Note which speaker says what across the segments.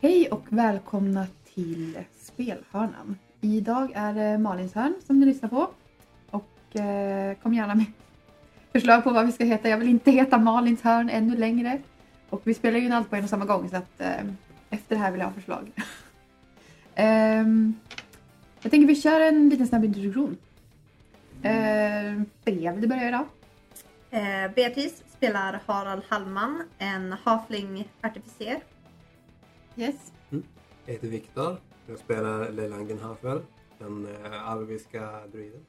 Speaker 1: Hej och välkomna till Spelhörnan. Idag är det Malins hörn som ni lyssnar på. Och eh, kom gärna med förslag på vad vi ska heta. Jag vill inte heta Malins hörn ännu längre. Och vi spelar ju in allt på en och samma gång så att eh, efter det här vill jag ha förslag. Ehm, jag tänker vi kör en liten snabb introduktion. Eh, Bea, vill du börja idag?
Speaker 2: Eh, Beatrice spelar Harald Hallman, en hafling artificer.
Speaker 1: Yes.
Speaker 3: Jag heter Viktor. Jag spelar Leilangen Hafel, den eh, alviska druiden.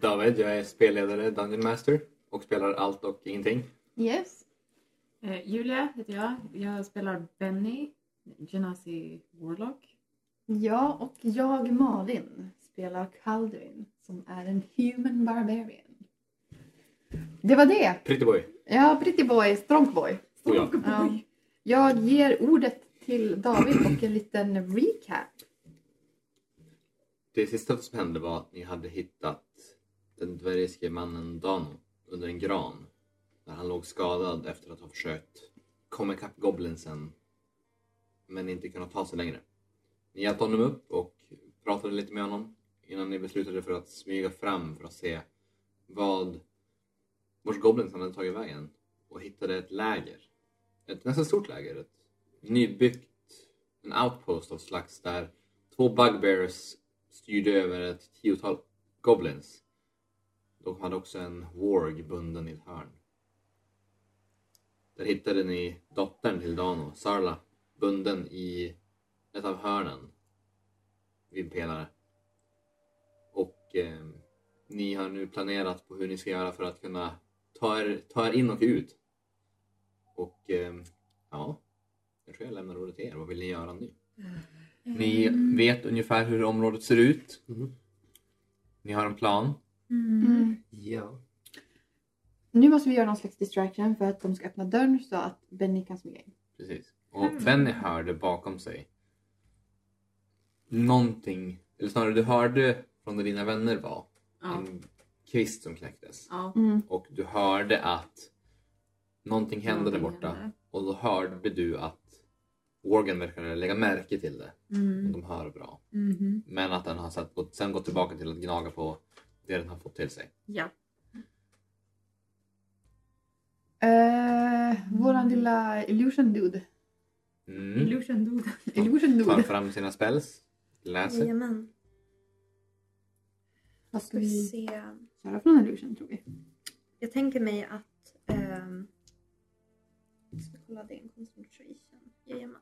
Speaker 4: David, jag är spelledare, Dungeon Master och spelar allt och ingenting.
Speaker 1: Yes.
Speaker 5: Eh, Julia heter jag. Jag spelar Benny, Genasi Warlock.
Speaker 1: Ja, och jag Malin spelar Calderin som är en human barbarian. Det var det.
Speaker 4: Pretty boy.
Speaker 1: Ja, pretty boy, strong boy.
Speaker 4: Och jag.
Speaker 1: Ja. Jag ger ordet till David och en liten recap.
Speaker 4: Det sista som hände var att ni hade hittat den dvärgiske mannen Dano under en gran. Där han låg skadad efter att ha försökt komma ikapp goblinsen men inte kunnat ta sig längre. Ni hjälpte honom upp och pratade lite med honom innan ni beslutade för att smyga fram för att se vad vars goblins hade tagit vägen och hittade ett läger. Ett nästan stort läger. Ett nybyggt, en outpost av slags där två bugbears styrde över ett tiotal goblins. De hade också en warg bunden i ett hörn. Där hittade ni dottern till Dano, Sarla, bunden i ett av hörnen vid en pelare. Och eh, ni har nu planerat på hur ni ska göra för att kunna ta er, ta er in och ut. Och eh, ja, jag tror jag lämnar ordet till er. Vad vill ni göra nu? Ni vet ungefär hur området ser ut.
Speaker 3: Mhm.
Speaker 4: Ni har en plan.
Speaker 3: Ja.
Speaker 1: Nu måste vi göra någon slags distraction för att de ska öppna dörren så att Benny kan smyga in.
Speaker 4: Precis. Och
Speaker 5: Mm.
Speaker 4: Benny hörde bakom sig någonting, eller snarare du hörde från där dina vänner var
Speaker 5: Ja.
Speaker 4: en kvist som knäcktes.
Speaker 5: ja.
Speaker 4: Och du hörde att någonting hände där
Speaker 5: Någonting
Speaker 4: borta.
Speaker 5: hände.
Speaker 4: Och då hörde du att Organ verkade lägga märke till det.
Speaker 5: Mm.
Speaker 4: De hör bra.
Speaker 5: Mhm.
Speaker 4: Men att den har satt, gått- sen gått tillbaka till att gnaga på det den har fått till sig.
Speaker 5: ja.
Speaker 1: Eh, våran lilla illusion dude.
Speaker 4: Mm.
Speaker 5: Illusion dude.
Speaker 1: Illusion
Speaker 4: tar
Speaker 1: dude.
Speaker 4: fram sina spells, läser.
Speaker 2: Jajamän.
Speaker 1: Vad
Speaker 2: Ska vi se.
Speaker 1: köra från illusion tror vi?
Speaker 2: Jag tänker mig att... ehm, Jag ska kolla, det är en concentration. Jajamän.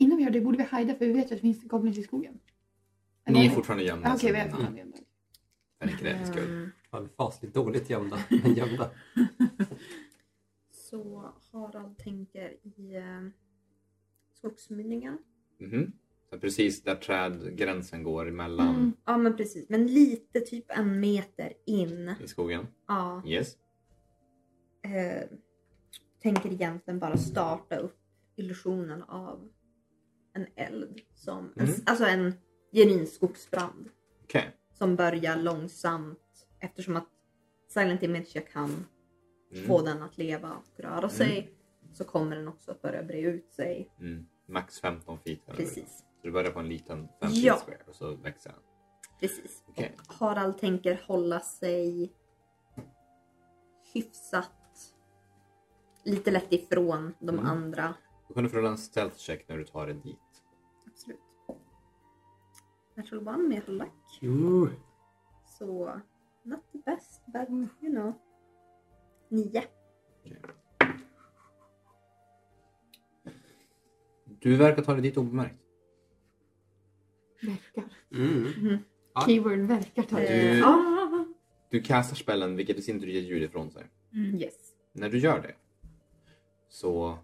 Speaker 1: Innan vi gör det borde vi hajda för vi vet ju att det finns goblins i skogen.
Speaker 4: Ni är fortfarande gömda.
Speaker 1: Ah, Okej, vi
Speaker 4: så-
Speaker 1: är fortfarande gömda.
Speaker 4: Ja, det är inte det, det ska vi-
Speaker 2: Mm.
Speaker 3: Fan, fasligt dåligt gömda. Men gömda.
Speaker 2: Så Harald tänker i eh, skogsmynningen.
Speaker 4: Mhm. Så precis där trädgränsen går emellan
Speaker 1: Mm.
Speaker 2: Ja men precis, men lite typ en meter in.
Speaker 4: i skogen.
Speaker 2: Ja.
Speaker 4: Yes.
Speaker 2: eh, tänker egentligen bara starta upp illusionen av en eld. Som en,
Speaker 4: Mm.
Speaker 2: Alltså en genuin skogsbrand
Speaker 4: Okej.
Speaker 2: som börjar långsamt eftersom att Silent Image jag kan
Speaker 4: Mm.
Speaker 2: få den att leva och röra sig så kommer den också att börja bre ut sig.
Speaker 4: Mm. Max 15 feet. eller hur?
Speaker 2: Precis,
Speaker 4: Så du börjar på en liten 5 feet
Speaker 2: Ja.
Speaker 4: square och så växer den.
Speaker 2: precis.
Speaker 4: Okej.
Speaker 2: Och Harald tänker hålla sig hyfsat lite lätt ifrån de
Speaker 4: Mm.
Speaker 2: andra
Speaker 4: Då kan du få rulla en stealth check när du tar dig dit.
Speaker 2: Absolut. Jag tror bara med lack.
Speaker 3: Uh,
Speaker 2: Så not the best but you know. Nio.
Speaker 4: Du verkar ta dig dit obemärkt.
Speaker 1: Verkar.
Speaker 3: Mm. Ja.
Speaker 1: Keyword verkar ta
Speaker 2: Eh,
Speaker 1: det.
Speaker 4: Du-
Speaker 1: Ah.
Speaker 4: Du kastar spellen vilket i sin tur ger ljud ifrån sig.
Speaker 1: Yes.
Speaker 4: När du gör det så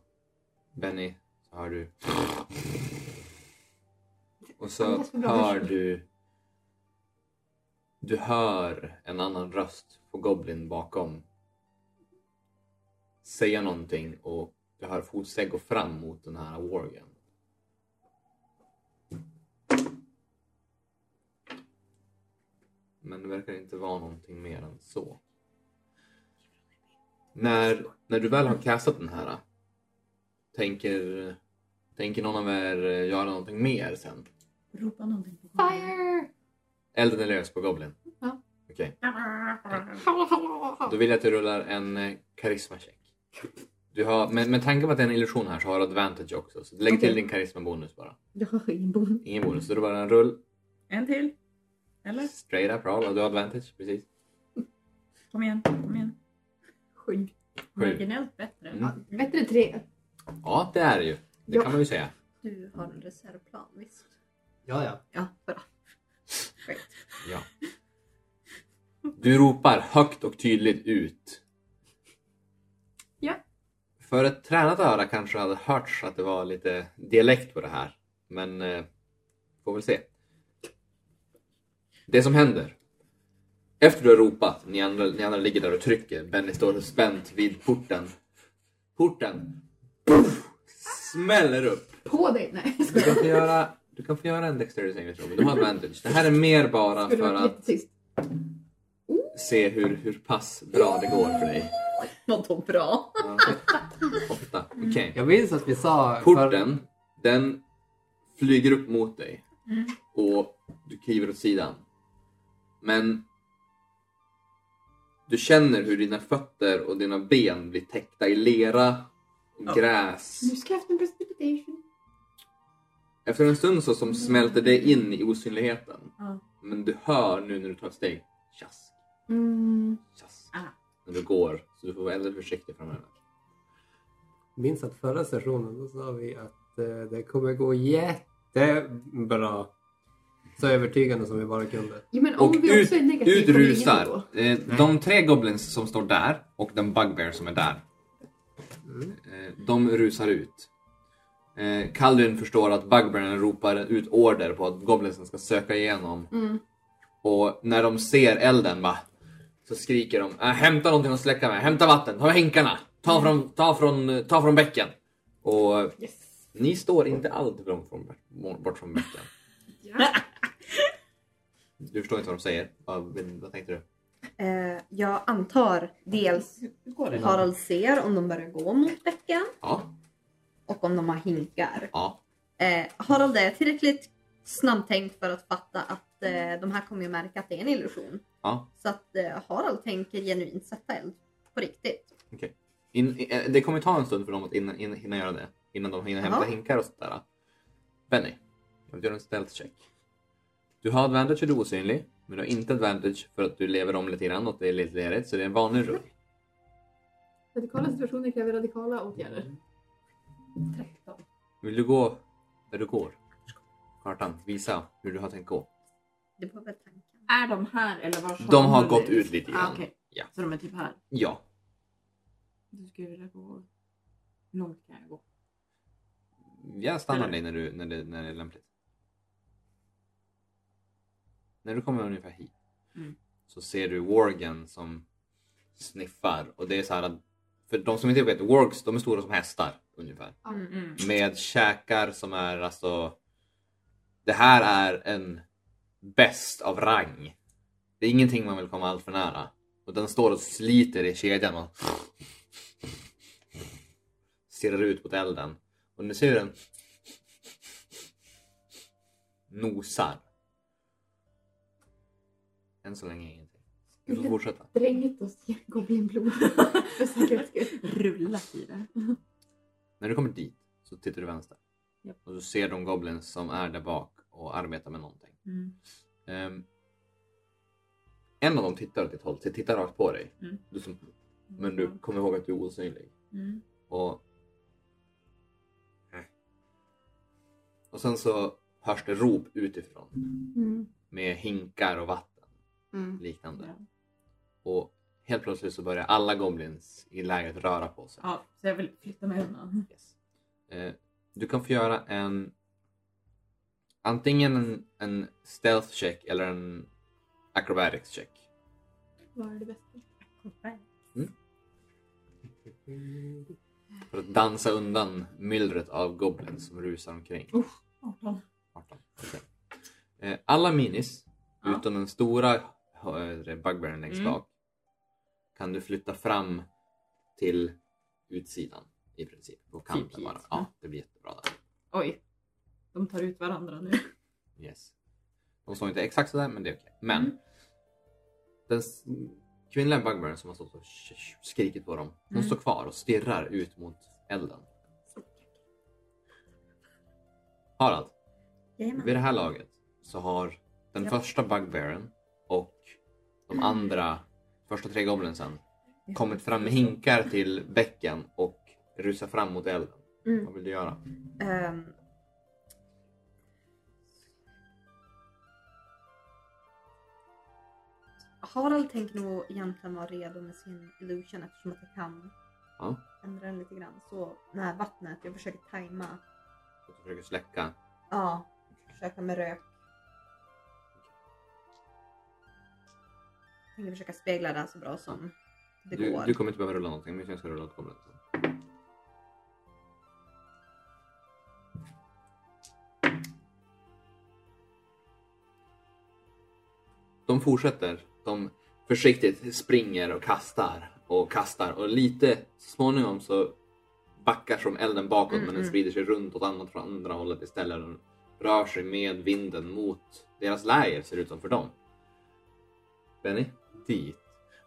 Speaker 4: Benny, så hör du och så
Speaker 1: Andas för bra
Speaker 4: hör
Speaker 1: hörsel.
Speaker 4: du du hör en annan röst på Goblin bakom säga någonting och du hör fotsteg gå fram mot den här wargen. Men det verkar inte vara någonting mer än så. När, när du väl har kastat den här Tänker, tänker någon av er eh, göra någonting mer sen?
Speaker 5: Ropa någonting på
Speaker 6: Fire!
Speaker 4: Elden är lös på Goblin.
Speaker 5: Ja.
Speaker 4: Okej. Då
Speaker 6: Du...
Speaker 4: vill jag att du rullar en eh, karismacheck. Du har, med, med tanke på att det är en illusion här så har du advantage också. Så lägg till
Speaker 5: Okej.
Speaker 4: din karismabonus bara.
Speaker 5: Jag har ingen bon.
Speaker 4: Ingen bonus, så det är bara en rull.
Speaker 5: En till. Eller?
Speaker 4: Straight up roll och du har advantage. Precis.
Speaker 5: Kom igen, kom igen. Sju. Marginellt bättre.
Speaker 4: Mm.
Speaker 6: Bättre tre.
Speaker 4: Ja, det är det ju. Det
Speaker 6: Ja.
Speaker 4: kan man ju säga.
Speaker 2: Du har en reservplan visst?
Speaker 3: Ja, ja.
Speaker 5: Ja, bra.
Speaker 4: Ja. Du ropar högt och tydligt ut.
Speaker 5: Ja.
Speaker 4: För ett tränat öra kanske hade hörts att det var lite dialekt på det här. Men eh, får väl se. Det som händer. Efter du har ropat, ni andra, ni andra ligger där och trycker. Benny står spänt vid porten. Porten puff, smäller upp.
Speaker 6: På dig! Nej,
Speaker 4: Du kan få göra, du kan få göra en dexterity saving throw, men du har advantage. Det här är mer bara
Speaker 6: skulle
Speaker 4: för
Speaker 6: vara
Speaker 4: att
Speaker 6: jättetyst.
Speaker 4: se hur, hur pass bra det går för dig.
Speaker 5: Något bra.
Speaker 4: Ja. Åtta, okej.
Speaker 3: Jag minns att vi sa...
Speaker 4: Porten, den flyger upp mot dig.
Speaker 5: Mm.
Speaker 4: Och du kliver åt sidan. Men du känner hur dina fötter och dina ben blir täckta i lera, och gräs.
Speaker 6: Nu ska jag ha en precipitation.
Speaker 4: Efter en stund så som smälter det in i osynligheten.
Speaker 5: Ja.
Speaker 4: Men du hör nu när du tar ett steg. Tjask,
Speaker 6: Mm.
Speaker 4: tjask.
Speaker 5: Ah.
Speaker 4: När du går. Så du får vara väldigt försiktig framöver.
Speaker 3: minns att förra sessionen då sa vi att eh, det kommer gå jättebra. Så övertygande som vi bara kunde.
Speaker 6: Ja, men om
Speaker 4: Och
Speaker 6: vi
Speaker 4: ut,
Speaker 6: också är negativa
Speaker 4: ut
Speaker 6: kommer ingen
Speaker 4: rusar.
Speaker 6: gå.
Speaker 4: Eh, De tre goblins som står där och den bugbear som är där. Eh, De rusar ut. Eh, Kaldun förstår att bugbearen ropar ut order på att goblinsen ska söka igenom.
Speaker 6: Mm.
Speaker 4: Och när de ser elden va, så skriker de "Äh, Hämta någonting att släcka med, hämta vatten, ta hinkarna, ta
Speaker 6: Mm.
Speaker 4: från, ta från, ta från bäcken. Och eh,
Speaker 5: Yes.
Speaker 4: ni står inte alltför långt från, bort från bäcken.
Speaker 6: Ja.
Speaker 4: Du förstår inte vad de säger. Vad, vad tänkte du?
Speaker 2: Eh, jag antar dels Harald ser om de börjar gå mot bäcken
Speaker 4: Ja,
Speaker 2: och om de har hinkar.
Speaker 4: ja.
Speaker 2: Eh, Harald är tillräckligt snabbtänkt för att fatta att eh, de här kommer ju märka att det är en illusion.
Speaker 4: Ja.
Speaker 2: Så att eh, Harald tänker genuint sätta eld på riktigt.
Speaker 4: In, i- eh, det kommer ta en stund för dem att innan, innan, hinna göra det. Innan de hinner hämta
Speaker 2: Ja.
Speaker 4: hinkar och sådär. Benny, jag vill göra en stealth check. Du har advantage för du är osynlig. Men du har inte advantage för att du lever om lite grann och det är lite lerigt. Så det är en vanlig rull.
Speaker 6: Radikala situationer kräver radikala åtgärder. 13.
Speaker 4: Vill du gå där du går? Kartan, visa hur du har tänkt gå.
Speaker 2: Det var väl tanken.
Speaker 5: Är de här eller var ska
Speaker 4: De har
Speaker 5: nu?
Speaker 4: gått ut lite
Speaker 5: Ah,
Speaker 4: grann.
Speaker 5: okej.
Speaker 4: Ja.
Speaker 5: Så de är typ här.
Speaker 4: Ja,
Speaker 5: Du skulle vilja gå... Hur långt kan jag gå?
Speaker 4: jag stannar
Speaker 5: Eller?
Speaker 4: dig när, du, när, det, när det är lämpligt. När du kommer ungefär hit
Speaker 5: Mm.
Speaker 4: så ser du Worgen som sniffar och det är så här att för de som inte vet, Worgs de är stora som hästar ungefär.
Speaker 2: Mm.
Speaker 5: Mm.
Speaker 4: Med käkar som är alltså det här är en bäst av rang. Det är ingenting man vill komma allt för nära. Och den står och sliter i kedjan och stirrar ut mot elden. Och nu ser du den nosar. Än så länge ingenting. Du får fortsätta.
Speaker 6: Drängt oss i goblinblod. För säkerhets skull.
Speaker 5: Rulla i det.
Speaker 4: När du kommer dit så tittar du vänster.
Speaker 5: Japp.
Speaker 4: Och du ser de goblins som är där bak och arbetar med någonting.
Speaker 5: Mm.
Speaker 4: Ehm, en av dem tittar åt ditt håll, tittar rakt på dig.
Speaker 5: Mm.
Speaker 4: Du som, men du kommer ihåg att du är osynlig.
Speaker 5: Mm.
Speaker 4: Och... Äh. Och sen så hörs det rop utifrån
Speaker 6: Mm.
Speaker 4: med hinkar och vatten
Speaker 6: Mm.
Speaker 4: liknande.
Speaker 5: Ja.
Speaker 4: Och helt plötsligt så börjar alla goblins i lägret röra på sig.
Speaker 5: ja, så jag vill flytta mig undan.
Speaker 4: Yes. Eh, du kan få göra en antingen en, en stealth check eller en acrobatics check.
Speaker 6: Vad är det bästa?
Speaker 4: För att dansa undan myllret av goblins som rusar omkring.
Speaker 5: 18.
Speaker 4: 18. Okej. Eh, alla minis,
Speaker 5: Ja.
Speaker 4: utom den stora eh, bugbearen längst
Speaker 5: Mm.
Speaker 4: bak, kan du flytta fram till utsidan. i princip. På kanten
Speaker 5: Typ hit,
Speaker 4: bara.
Speaker 5: va?
Speaker 4: Ja, det blir jättebra där.
Speaker 5: Oj, de tar ut varandra nu.
Speaker 4: Yes. De står inte exakt sådär men det är okej. Men
Speaker 2: Mm.
Speaker 4: den s- kvinnliga bugbearen som har stått och sh- sh- skrikit på dem, hon
Speaker 5: Mm.
Speaker 4: står kvar och stirrar ut mot elden. Harald,
Speaker 2: Jajamän.
Speaker 4: vid det här laget så har den
Speaker 2: Ja. Mm.
Speaker 4: första bugbearen och de andra första tre goblinsen kommit fram med hinkar till bäcken och rusar fram mot elden.
Speaker 2: Mm.
Speaker 4: Vad vill du göra?
Speaker 2: Ehm. Harald tänker nog egentligen vara redo med sin illusion eftersom att jag kan
Speaker 4: Ja.
Speaker 2: ändra den lite grann. Så när vattnet, jag försöker tajma.
Speaker 4: Du försöker släcka
Speaker 2: Ja, försöka med rök. Jag tänker försöka spegla det här så bra som det
Speaker 4: Du,
Speaker 2: går.
Speaker 4: du kommer inte behöva rulla någonting, men jag ska rulla ett komplett. De fortsätter. De försiktigt springer och kastar och kastar och lite så småningom så backar som elden bakåt
Speaker 2: Mm,
Speaker 4: men den
Speaker 2: mm.
Speaker 4: sprider sig runt åt andra, från andra hållet istället. Den rör sig med vinden mot deras läger ser det ut som för dem. Benny, dit.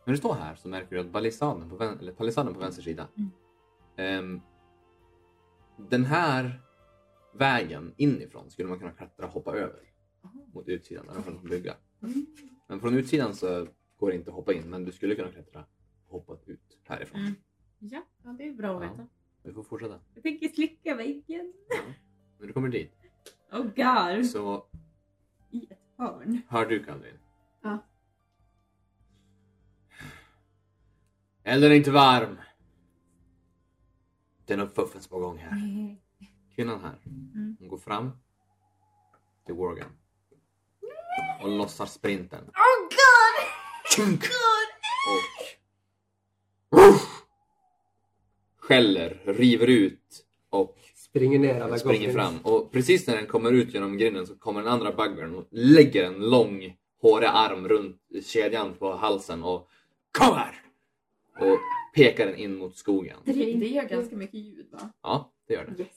Speaker 4: När du står här så märker du att palissaden på, vän- eller palissaden på vänster sida.
Speaker 6: Mm.
Speaker 4: ehm, den här vägen inifrån skulle man kunna klättra och hoppa över mot utsidan. Där de håller på att bygga.
Speaker 2: Mm.
Speaker 4: Men från utsidan så går det inte att hoppa in men du skulle kunna klättra och hoppa ut härifrån.
Speaker 5: Mm. Ja, ja, det är bra att
Speaker 4: Ja.
Speaker 5: veta.
Speaker 4: Vi får fortsätta.
Speaker 5: Jag tänker slicka väggen.
Speaker 4: När du kommer dit
Speaker 5: Oh god.
Speaker 4: så
Speaker 5: I ett hörn.
Speaker 4: hör du Calvin.
Speaker 5: Ja.
Speaker 4: Elden är inte varm. Det är något fuffens på gång här. kvinnan här.
Speaker 5: Mm.
Speaker 4: Hon går fram till Worgen. Och lossar sprinten.
Speaker 2: Oh god!
Speaker 4: Tjunk!
Speaker 2: God!
Speaker 4: Och skäller, river ut och
Speaker 3: Springer ner alla
Speaker 4: springer
Speaker 3: goblins.
Speaker 4: fram. Och precis när den kommer ut genom grinden så kommer den andra bugbearen och lägger en lång hårig arm runt kedjan på halsen och Kom här! Och pekar den in mot skogen.
Speaker 5: Det, det gör ganska mycket ljud va?
Speaker 4: Ja, det gör den.
Speaker 5: Yes.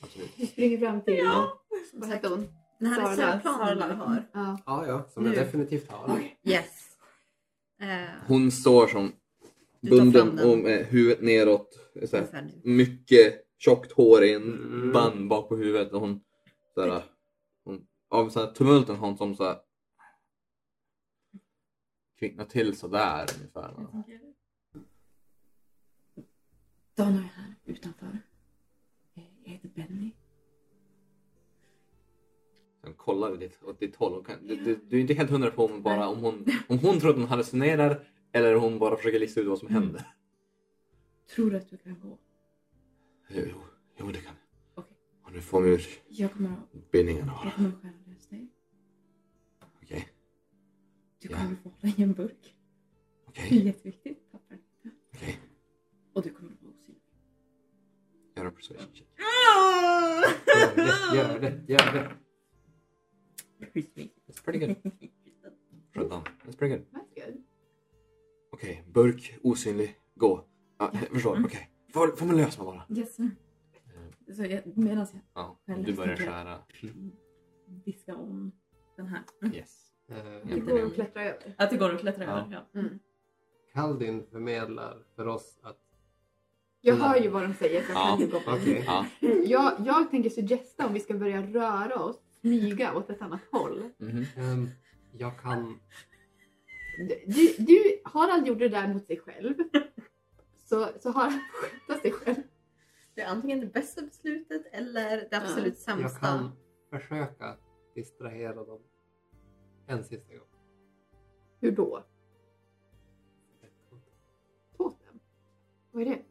Speaker 4: Absolut.
Speaker 5: Du springer fram till...
Speaker 4: Ja.
Speaker 5: Vad hette hon?
Speaker 2: Det här är
Speaker 5: Sara.
Speaker 2: särplanen man har.
Speaker 5: Ja.
Speaker 3: Ja, ja, som jag
Speaker 2: Nu.
Speaker 3: definitivt har.
Speaker 2: Yes. Eh,
Speaker 4: Hon står som
Speaker 2: Du tar fram
Speaker 4: bunden
Speaker 2: den.
Speaker 4: och med huvudet neråt. Så här,
Speaker 2: ungefär nu.
Speaker 4: mycket tjockt hår i en
Speaker 3: Mm.
Speaker 4: band bak på huvudet. Och hon, så här, hon, av så här tumulten har hon som så här, kvicknar till sådär ungefär.
Speaker 5: Dan är här utanför. Eh, Jag heter Benny.
Speaker 4: Sen kollar ditt, åt ditt håll. Hon kan, du, du, du är inte helt hundra på om, hon bara, om, hon, om hon tror att hon hallucinerar eller om hon bara försöker lista ut vad som händer.
Speaker 5: Tror du att du kan gå?
Speaker 4: Jo, jo det kan
Speaker 5: Okej.
Speaker 4: Och nu får vi ur
Speaker 5: Jag kommer att,
Speaker 4: bindningarna bara.
Speaker 5: jag kommer att skärmlösa dig.
Speaker 4: Okej,
Speaker 5: Du
Speaker 4: Ja.
Speaker 5: kommer att få hålla i en burk.
Speaker 4: okej,
Speaker 5: Det är jätteviktigt. Tappa den.
Speaker 4: okej.
Speaker 5: Och du kommer att vara osynlig.
Speaker 4: Gör en persuasion check.
Speaker 3: Gör det, gör det, gör det.
Speaker 4: That's pretty good. 17. That's pretty good.
Speaker 5: That's good.
Speaker 4: Okej, burk, osynlig, gå. Ja, jag förstår,
Speaker 5: Mm.
Speaker 4: okej. Får, får man lösa bara?
Speaker 5: Yes sir. Så jag, medan jag
Speaker 4: Ja,
Speaker 5: Själv
Speaker 4: du börjar
Speaker 5: tänker
Speaker 4: skära.
Speaker 5: viska om den här.
Speaker 4: Yes.
Speaker 3: Eh,
Speaker 4: Ja. Det går att
Speaker 5: klättra över. Mm. Att det går att klättra
Speaker 4: Ja.
Speaker 5: över, ja.
Speaker 3: Kaldin förmedlar för oss att...
Speaker 1: Jag hör ju vad de säger för jag
Speaker 4: Ja.
Speaker 1: kan inte gå på
Speaker 3: Okej.
Speaker 4: Ja.
Speaker 1: det. jag, jag tänker suggesta om vi ska börja röra oss, smyga åt ett annat håll.
Speaker 4: Mhm.
Speaker 3: ehm, jag kan...
Speaker 1: Du, du, Harald gjorde det där mot sig själv. Så, så Harald får sköta sig själv.
Speaker 2: Det är antingen det bästa beslutet eller det absolut
Speaker 3: Jag
Speaker 2: sämsta.
Speaker 3: kan försöka distrahera dem. En sista gång.
Speaker 1: Hur då? Totem? Vad är det?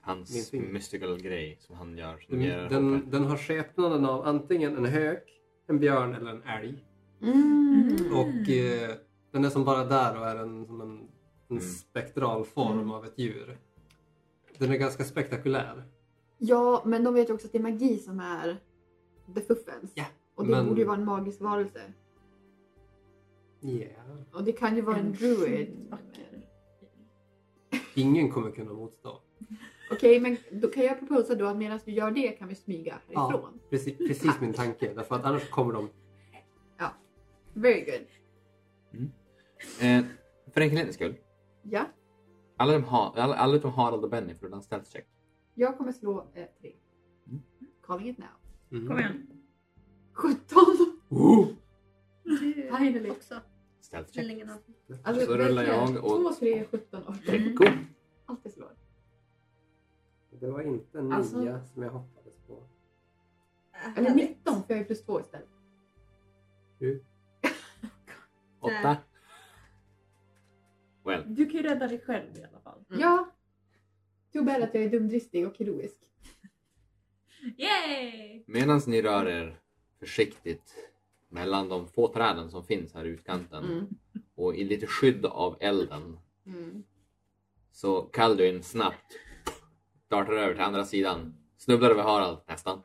Speaker 4: Hans
Speaker 3: Min finger.
Speaker 4: mystical grej som han gör. Som ger
Speaker 3: Den, den,
Speaker 4: den...
Speaker 3: den har skepnaden av antingen en hök, en björn eller en älg.
Speaker 1: Mm.
Speaker 3: Och eh, den är som bara där och är en, som en, en
Speaker 4: Mm.
Speaker 3: spektral form av ett djur. Den är ganska spektakulär.
Speaker 1: Ja, men de vet ju också att det är magi som är the fuffens.
Speaker 3: Ja,
Speaker 1: Och det
Speaker 3: men-
Speaker 1: borde ju vara en magisk varelse.
Speaker 3: Yeah.
Speaker 1: Och det kan ju vara en druid.
Speaker 3: Ingen kommer kunna motstå.
Speaker 1: Okej, men då kan jag proposa då att medan du gör det kan vi smyga
Speaker 3: Ja.
Speaker 1: härifrån.
Speaker 3: Precis, precis min tanke. Därför att annars kommer de...
Speaker 1: Very good.
Speaker 4: Eh, för enkelhetens skull.
Speaker 1: Ja,
Speaker 4: Alla, de har, alla, alla utom Harald och Benny får en stealth check.
Speaker 1: jag kommer slå eh, tre.
Speaker 4: Mm.
Speaker 1: Calling it now.
Speaker 3: Mm.
Speaker 2: Kom igen.
Speaker 1: 17!
Speaker 3: Oh!
Speaker 2: Du
Speaker 1: Finally.
Speaker 2: också.
Speaker 4: Stealth check.
Speaker 2: Tvillingen har
Speaker 1: Alltså,
Speaker 4: Så rullar jag och-
Speaker 1: 2, 3, 17, 18.
Speaker 2: Mm.
Speaker 4: Cool.
Speaker 1: Alltid slår.
Speaker 3: Det var inte en nia
Speaker 5: Alltså-
Speaker 3: som jag hoppades på.
Speaker 1: Eller 19 för jag är plus 2 istället.
Speaker 4: Åtta. Well,
Speaker 5: Du kan ju rädda dig själv i alla fall.
Speaker 4: Mm.
Speaker 1: Ja. Too bad att jag är dumdristig och heroisk.
Speaker 5: Yay!
Speaker 4: medan ni rör er försiktigt mellan de få träden som finns här i utkanten
Speaker 3: Mm.
Speaker 4: och i lite skydd av elden så Kalduin snabbt dartar över till andra sidan. Snubblar över Harald, nästan.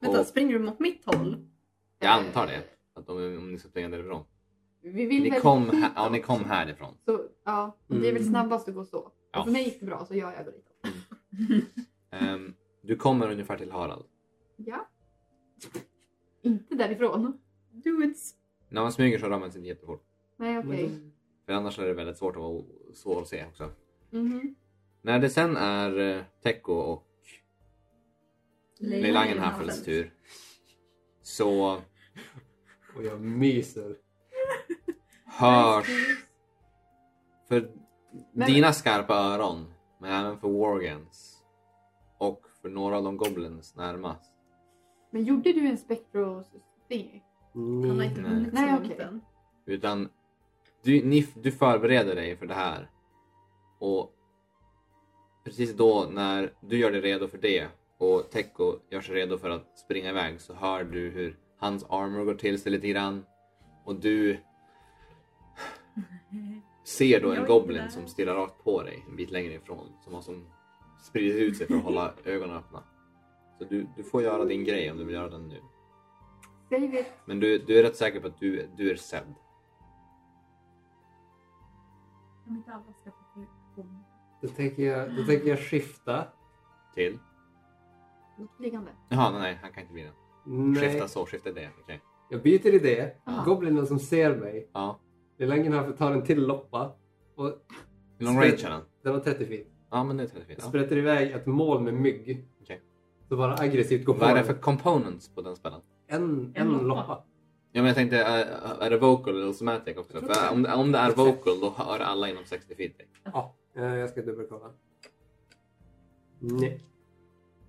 Speaker 2: Vänta,
Speaker 4: Och-
Speaker 2: springer du mot mitt håll?
Speaker 4: Jag antar det. Att om, om ni ska springa därifrån.
Speaker 1: Eh, Vi vill
Speaker 4: Ni
Speaker 1: väl
Speaker 4: kom,
Speaker 1: hitåt.
Speaker 4: här, ja, ni kom härifrån.
Speaker 1: Så, ja, det är väl
Speaker 3: Mm.
Speaker 1: snabbast att gå så.
Speaker 4: Ja.
Speaker 1: Och för mig gick det bra så jag, jag går ditåt.
Speaker 4: Ehm, du kommer ungefär till Harald.
Speaker 1: Ja. Inte därifrån.
Speaker 2: Dudes.
Speaker 4: När man smyger så rör man sig inte jättefort.
Speaker 1: Nej okej.
Speaker 4: För annars är det väldigt svårt att, vara o- svår att se också.
Speaker 1: Mhm.
Speaker 4: När det sen är eh, Teko och
Speaker 2: Leila
Speaker 4: Leilangenhaffels tur. Så
Speaker 3: Och jag myser.
Speaker 4: hörs... För
Speaker 1: Men-
Speaker 4: dina skarpa öron, men även för Wargans och för några av de goblins närmast.
Speaker 1: Men gjorde du en spectros thingy?
Speaker 3: Mm,
Speaker 2: Han har inte
Speaker 4: Nej.
Speaker 2: hunnit så
Speaker 1: Nej,
Speaker 2: långt
Speaker 1: okej.
Speaker 2: än.
Speaker 4: Utan du, ni, du förbereder dig för det här. Och precis då när du gör dig redo för det och Teko gör sig redo för att springa iväg så hör du hur hans armor går till sig lite grann. Och du
Speaker 5: Eh,
Speaker 4: ser då
Speaker 2: Jag
Speaker 4: en
Speaker 2: är där.
Speaker 4: goblin som stirrar rakt på dig en bit längre ifrån. Som har som spridit ut sig för att hålla ögonen öppna. Så du, du får göra din grej om du vill göra den nu.
Speaker 1: Save it.
Speaker 4: Men du, du är rätt säker på att du, du är sedd.
Speaker 5: Om inte alla ska få komma.
Speaker 3: Då tänker jag, då tänker jag skifta.
Speaker 4: Till?
Speaker 1: Något liggande.
Speaker 4: Jaha, nej, nej, han kan inte bli den.
Speaker 3: Nej,
Speaker 4: Skifta så, skifta det. Okej.
Speaker 3: jag byter idé.
Speaker 1: Aha.
Speaker 3: Goblinen som ser mig.
Speaker 4: Ja.
Speaker 3: Lelangenhaffel tar en till loppa. Och
Speaker 4: Hur lång
Speaker 3: Spel-
Speaker 4: range har den?
Speaker 3: den var 30 feet.
Speaker 4: Ja, men nu är det 34. Ja.
Speaker 3: Sprätter iväg ett mål med mygg.
Speaker 4: Okej.
Speaker 3: Så bara aggressivt går på
Speaker 4: Vad är det
Speaker 3: den.
Speaker 4: för components på den spelen?
Speaker 3: En, en
Speaker 5: En loppa.
Speaker 3: loppa.
Speaker 4: Ja, men jag tänkte, är, är det vocal eller somatic också?
Speaker 3: tror
Speaker 4: För
Speaker 3: det.
Speaker 4: om, det- om det är
Speaker 3: Exakt.
Speaker 4: vocal då hör alla inom 60 feet dig.
Speaker 3: Ja, eh, jag ska dubbelkolla. Nej.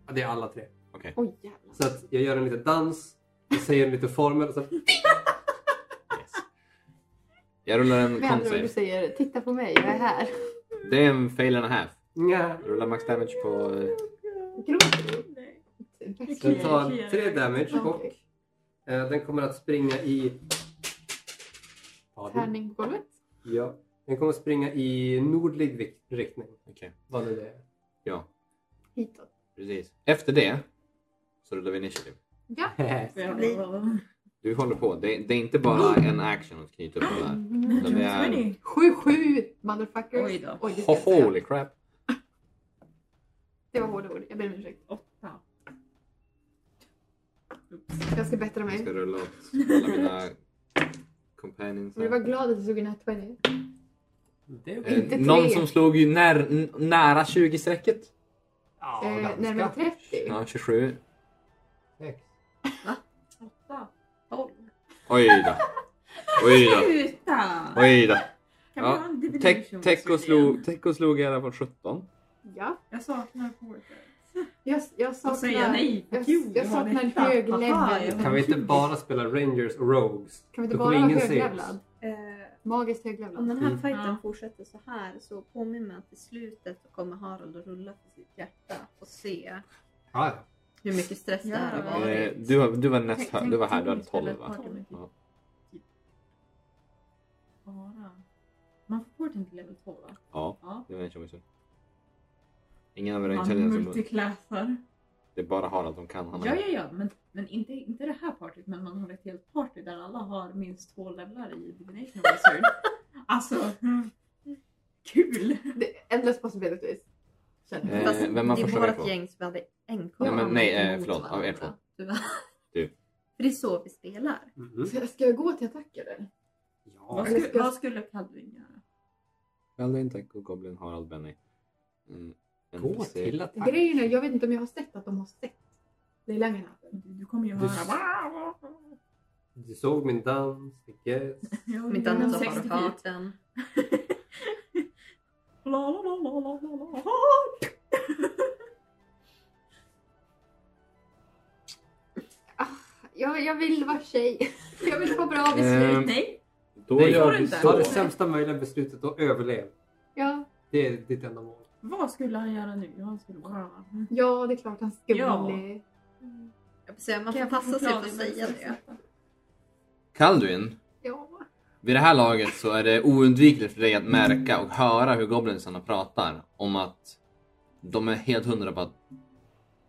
Speaker 3: Ja, det är alla tre.
Speaker 1: Oj jävlar.
Speaker 3: Så att jag gör en liten dans. Jag säger lite former och så
Speaker 4: Yes. Jag rullar en
Speaker 1: Med andra ord,
Speaker 4: concert.
Speaker 1: du säger titta på mig, jag är här.
Speaker 4: Det är en fail and a half.
Speaker 3: Nja.
Speaker 4: Rullar max damage på... eh,
Speaker 1: Gråter
Speaker 2: Nej.
Speaker 1: du? Bäst.
Speaker 3: Den tar
Speaker 2: Okej.
Speaker 3: tre damage och
Speaker 1: Okej.
Speaker 3: eh, den kommer att springa i... Ja, det-
Speaker 1: Tärning på golvet.
Speaker 3: Ja. Den kommer att springa i nordlig vik- riktning.
Speaker 4: Okej.
Speaker 3: Vad nu det är.
Speaker 4: Ja,
Speaker 1: Hitåt.
Speaker 4: precis. Efter det så rullar vi initiativ.
Speaker 1: Ja.
Speaker 2: Ska bli-
Speaker 4: Du håller på. Det, det är inte bara en action att knyta upp det där. Utan det är...
Speaker 1: 7-7 Mhm. motherfuckers.
Speaker 5: Oj då.
Speaker 1: Oj, det, ska jag säga.
Speaker 4: Holy crap!
Speaker 1: det var hårda ord, jag ber om ursäkt.
Speaker 5: Åtta.
Speaker 1: Jag ska bättra
Speaker 4: Jag
Speaker 1: mig.
Speaker 4: ska rulla åt alla mina companions
Speaker 1: Jag
Speaker 4: här.
Speaker 1: var glad att du såg en här 20.
Speaker 3: Det är
Speaker 4: Eh,
Speaker 1: Inte
Speaker 4: någon
Speaker 1: tre.
Speaker 4: som slog ju när, n- nära 20-strecket.
Speaker 3: Ja,
Speaker 1: Eh,
Speaker 3: ganska.
Speaker 1: närmare 30.
Speaker 4: Ja, 27.
Speaker 3: Sex.
Speaker 5: Åtta. Tolv.
Speaker 4: Oj då. Oj då.
Speaker 5: Sluta!
Speaker 4: Oj då.
Speaker 5: Kan
Speaker 4: Ja,
Speaker 5: vi ha en division?
Speaker 4: Tek- Teko slog, Teko slog i alla fall 17.
Speaker 1: Ja.
Speaker 5: Jag saknar porter.
Speaker 1: Jag, jag
Speaker 5: Och säga
Speaker 1: saknar,
Speaker 5: nej.
Speaker 1: jag-
Speaker 5: Jo,
Speaker 1: jag
Speaker 5: har
Speaker 1: saknar
Speaker 5: detta.
Speaker 1: hög
Speaker 5: Haha,
Speaker 1: level.
Speaker 5: jag-
Speaker 3: Kan vi inte bara spela Rangers och Rogues?
Speaker 1: kan vi inte
Speaker 3: Då
Speaker 1: bara
Speaker 3: kommer
Speaker 1: vara
Speaker 3: ingen se oss.
Speaker 1: höglevlad?
Speaker 2: Eh,
Speaker 1: Magiskt
Speaker 2: Om
Speaker 1: höglevlad.
Speaker 2: den här
Speaker 3: Mm.
Speaker 2: fighten
Speaker 5: Ja.
Speaker 2: fortsätter så här så påminn mig att i slutet så kommer Harald att rulla för sitt hjärta och se
Speaker 3: Ja, ja.
Speaker 2: hur mycket stress det här
Speaker 5: Ja.
Speaker 2: har
Speaker 4: Eh,
Speaker 2: varit.
Speaker 4: du, var- du var näst
Speaker 5: Tänk-
Speaker 4: hö-
Speaker 5: tänk
Speaker 4: Du var här, du
Speaker 5: om
Speaker 4: hade
Speaker 5: vi spelar
Speaker 4: 12 va?
Speaker 5: ett party.
Speaker 4: Ja.
Speaker 5: Bara. Man får porten till level 12 va?
Speaker 4: Ja,
Speaker 5: Ja.
Speaker 4: det var en tjommig Ingen av era
Speaker 5: Man
Speaker 4: intelligenser, som...
Speaker 5: multiklassar.
Speaker 4: det är bara Harald som kan. Han
Speaker 5: Ja, ja, ja. Men, men inte, inte det här partyt. Men man har ett helt party där alla har minst två levlar i Divination Wizard. alltså. Kul!
Speaker 1: Det är endless possibilities. Känner jag.
Speaker 4: Eh,
Speaker 2: Fast
Speaker 4: vem man
Speaker 2: det
Speaker 4: får
Speaker 2: är
Speaker 4: skölja
Speaker 2: vårt
Speaker 4: på.
Speaker 2: gäng som vi hade en
Speaker 4: Ja,
Speaker 2: kvar.
Speaker 4: men nej, eh, förlåt.
Speaker 5: Mot
Speaker 4: Av er två.
Speaker 5: varandra, Tyvärr.
Speaker 4: Du.
Speaker 2: För det är så vi spelar.
Speaker 3: Mhm.
Speaker 1: Ska- Ska jag gå till attack eller?
Speaker 3: Ja.
Speaker 5: Vad skulle, vad skulle Kalvin göra?
Speaker 4: Paladin, Taco, Goblin, Harald, Benny. Mm,
Speaker 3: Gå
Speaker 4: NPC.
Speaker 3: till attack.
Speaker 1: Grejen är, jag vet inte om jag har sett att de har sett Leylangorna.
Speaker 5: Du, du kommer ju
Speaker 3: Du-
Speaker 5: höra...
Speaker 3: Du såg min dans, I guess.
Speaker 5: Ja,
Speaker 2: Om inte annat så har
Speaker 5: 60
Speaker 2: de
Speaker 5: Mm, feet.
Speaker 2: farten.
Speaker 5: La, la, la, la, la, la, la.
Speaker 1: Jag, jag vill vara tjej. Jag vill få
Speaker 3: Eh.
Speaker 1: bra
Speaker 4: Ehm,
Speaker 1: beslut.
Speaker 5: Nej,
Speaker 3: Då
Speaker 4: Nej,
Speaker 5: får
Speaker 3: gör
Speaker 5: du
Speaker 3: du
Speaker 5: inte.
Speaker 3: ta det sämsta möjliga beslutet och överlev.
Speaker 1: Ja,
Speaker 3: Det är ditt enda mål.
Speaker 5: vad skulle han göra nu? Han skulle bara... Mm.
Speaker 1: ja, det är klart han skulle.
Speaker 2: Jag
Speaker 5: Ja.
Speaker 2: vill säga, man
Speaker 5: Kan
Speaker 2: får
Speaker 5: jag få
Speaker 2: passa sig för
Speaker 5: choklad
Speaker 2: att
Speaker 5: i
Speaker 2: säga
Speaker 5: mig?
Speaker 2: det.
Speaker 4: Kalduin,
Speaker 1: Ja.
Speaker 4: vid det här laget så är det oundvikligt för dig att märka och höra hur goblinsarna pratar om att de är helt hundra på att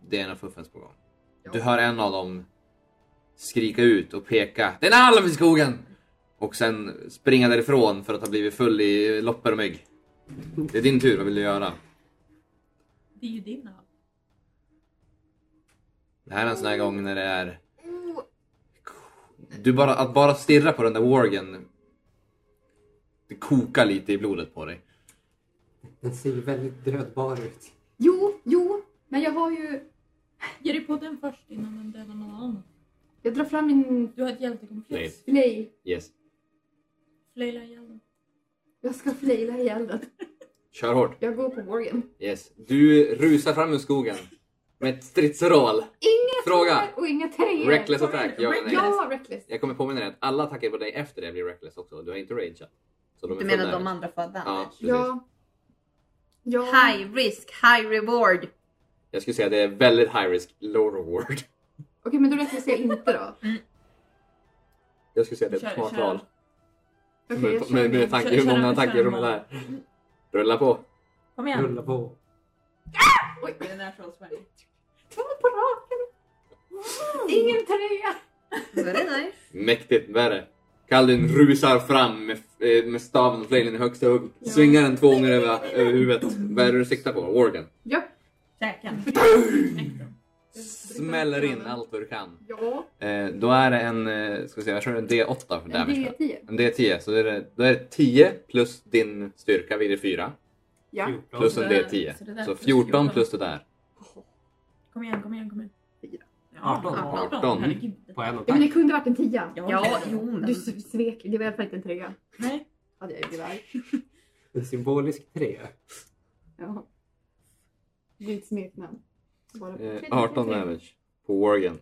Speaker 4: det är något fuffens på gång. Du hör en av dem skrika ut och peka Det är en alv i skogen! Och sen springa därifrån för att ha blivit full i loppor och mygg. Det är din tur, vad vill du göra?
Speaker 5: Det är ju din hand.
Speaker 4: Det här är en sån här gång när det är... Du bara, att bara stirra på den där wargen. Det kokar lite i blodet på dig.
Speaker 3: Den ser ju väldigt dödbar ut.
Speaker 1: Jo, jo, men jag har ju...
Speaker 5: Ge dig på den först innan den dödar någon annan.
Speaker 1: Jag drar fram min
Speaker 5: Du har ett hjältekomplex.
Speaker 1: flej.
Speaker 4: Yes.
Speaker 5: Flaila ihjäl den.
Speaker 1: Jag ska flejla ihjäl den.
Speaker 4: Kör hårt.
Speaker 1: Jag går på Morgan.
Speaker 4: Yes. Du rusar fram ur skogen. Med ett stridsroll.
Speaker 1: Inga
Speaker 4: Fråga.
Speaker 1: tår och inga treor.
Speaker 4: Reckless attack. Ja, men nej.
Speaker 1: Ja, reckless.
Speaker 4: Jag kommer påminna dig att alla attacker på dig efter det blir reckless också. Du har inte rageat. Så de är
Speaker 2: Du menar
Speaker 4: full
Speaker 2: de
Speaker 4: damage.
Speaker 2: andra får
Speaker 4: Ja,
Speaker 2: advantage?
Speaker 4: precis.
Speaker 1: Ja. Ja.
Speaker 2: High risk, high reward.
Speaker 4: Jag skulle säga att det är väldigt high risk, low reward.
Speaker 1: Okej, men då reckless jag inte då.
Speaker 4: Jag skulle säga att det är ett
Speaker 5: Kör-
Speaker 4: smart
Speaker 5: kör.
Speaker 4: val.
Speaker 1: Okej, jag
Speaker 4: Med,
Speaker 1: kör
Speaker 4: med, med
Speaker 1: min.
Speaker 4: tanke
Speaker 5: Kör-
Speaker 4: hur
Speaker 5: kör-
Speaker 4: många
Speaker 5: kör
Speaker 4: attacker i
Speaker 5: en
Speaker 4: rummet
Speaker 5: bana.
Speaker 4: är. Rulla på.
Speaker 5: Kom igen!
Speaker 3: Rulla på.
Speaker 5: Oj, det är natural sweaty.
Speaker 1: Två på raken. Ingen trea.
Speaker 2: Very nice.
Speaker 4: Mäktigt, värre. Kallin rusar fram med, eh, med staven och flailen i högsta hugg. Svingar den två gånger över, över huvudet. Vad är det du siktar på? Worgen.
Speaker 1: Ja.
Speaker 5: Käken. Knäck
Speaker 4: Smäller in allt vad du kan.
Speaker 1: Ja.
Speaker 4: Eh, då är det en, eh, ska vi se, jag tror det är en D8 för
Speaker 1: En
Speaker 4: damage. tror
Speaker 1: D10.
Speaker 4: jag. En D10, så är det, då är det 10 plus din styrka vid det 4.
Speaker 1: Ja.
Speaker 3: 14.
Speaker 4: Plus en
Speaker 5: Så det-
Speaker 4: D10.
Speaker 5: så det där
Speaker 4: Så
Speaker 5: Äh, plus
Speaker 4: 14
Speaker 5: 14.
Speaker 4: plus det där.
Speaker 5: Kom igen, kom igen, kom igen.
Speaker 2: Fyra.
Speaker 5: Ja,
Speaker 3: 18.
Speaker 5: 18.
Speaker 4: 18.
Speaker 5: Herregud.
Speaker 3: På en
Speaker 1: Ja, men
Speaker 3: attack.
Speaker 1: det kunde varit en tia.
Speaker 2: Ja, jo men.
Speaker 1: Du svek. Det var i alla fall inte en trea.
Speaker 5: Nej.
Speaker 1: Hade jag ju tyvärr.
Speaker 3: En symbolisk tre.
Speaker 1: Ja. Det är ett smeknamn. Bara-
Speaker 4: Eh, 18
Speaker 1: Tre- tre-
Speaker 4: damage på Worgen.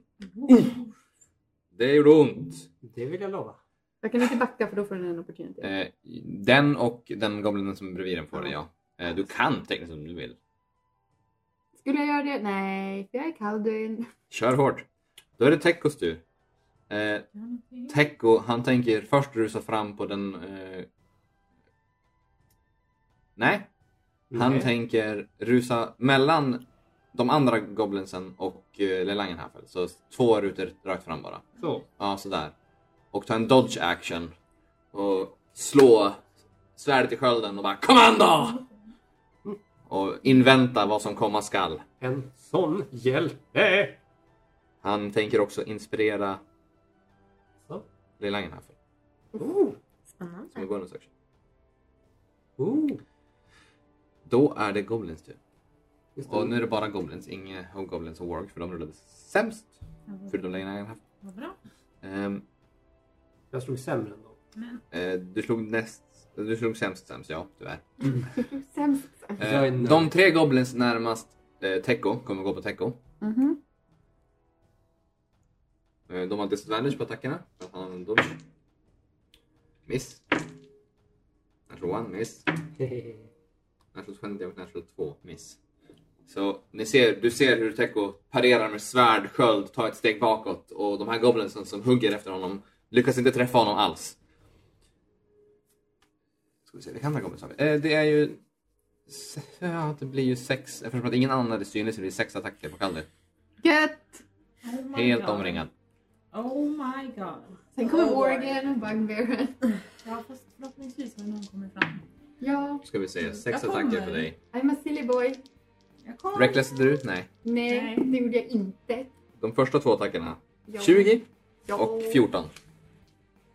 Speaker 4: Det gjorde ont.
Speaker 3: Det vill jag lova.
Speaker 1: Jag kan inte backa för då får den en opportunity.
Speaker 4: Eh, den och den goblinen som är bredvid den får det, ja. Eh, du kan tekniskt om du vill.
Speaker 1: Skulle jag göra det? Nej, för jag är Kalduin.
Speaker 4: Kör hårt. Då är det Tekos tur. Eh, Tekko, han tänker först rusa fram på den... Eh... Nej, han
Speaker 3: Nej.
Speaker 4: tänker rusa mellan de andra goblinsen och eh, Lelangen här. för. Så två rutor rakt fram bara.
Speaker 3: Så.
Speaker 4: Ja, sådär. Och ta en dodge action. Och slå svärdet i skölden och bara KOMMANDO! Och invänta vad som komma skall.
Speaker 3: En sån hjälte!
Speaker 4: Han tänker också inspirera
Speaker 3: Så.
Speaker 4: Lelangen här. för,
Speaker 3: Oh.
Speaker 4: Som en
Speaker 2: Spännande.
Speaker 4: bonus action.
Speaker 3: Oh.
Speaker 4: Då är det Goblins tur.
Speaker 3: Just det.
Speaker 4: Och nu är det bara Goblins, inga Hobgoblins och Warg för de rullade sämst. Förutom Lejonhagen. haft.
Speaker 5: Vad bra.
Speaker 4: Ehm,
Speaker 3: Jag slog sämre än dem.
Speaker 5: Men
Speaker 4: eh, du slog näst... Du slog sämst sämst, ja tyvärr.
Speaker 1: Sämst.
Speaker 4: Eh,
Speaker 3: Jag är nöjd.
Speaker 4: de tre Goblins närmast eh, Teko kommer gå på Teko.
Speaker 6: Mhm.
Speaker 4: Eh, de har disadvantage på attackerna. för att han använder dodge. Miss. Natural 1, miss. Natural 20 och Natural 2, miss. Så ni ser, du ser hur Teko parerar med svärd, sköld, tar ett steg bakåt och de här goblinsen som hugger efter honom lyckas inte träffa honom alls. Ska vi se, vilka andra goblins har vi? Eh, det är ju... se- Ja, det blir ju sex, eftersom att ingen annan är synlig så blir det sex attacker på Kaldir.
Speaker 1: Gött!
Speaker 5: oh my
Speaker 4: Helt
Speaker 5: god.
Speaker 4: omringad.
Speaker 5: Oh my god.
Speaker 1: Sen kommer
Speaker 5: Oh,
Speaker 1: Morgan och Bugbearen.
Speaker 5: Ja, fast förhoppningsvis har någon kommit fram.
Speaker 1: Ja.
Speaker 4: Då ska vi se, sex
Speaker 5: Jag
Speaker 4: attacker för
Speaker 5: kommer.
Speaker 4: dig.
Speaker 1: I'm a silly boy.
Speaker 2: Jag kommer.
Speaker 4: Reckless du ut? Nej.
Speaker 1: Nej,
Speaker 5: Nej.
Speaker 1: det gjorde jag inte.
Speaker 4: De första två attackerna.
Speaker 1: Jag,
Speaker 4: 20
Speaker 1: jag,
Speaker 4: och 14.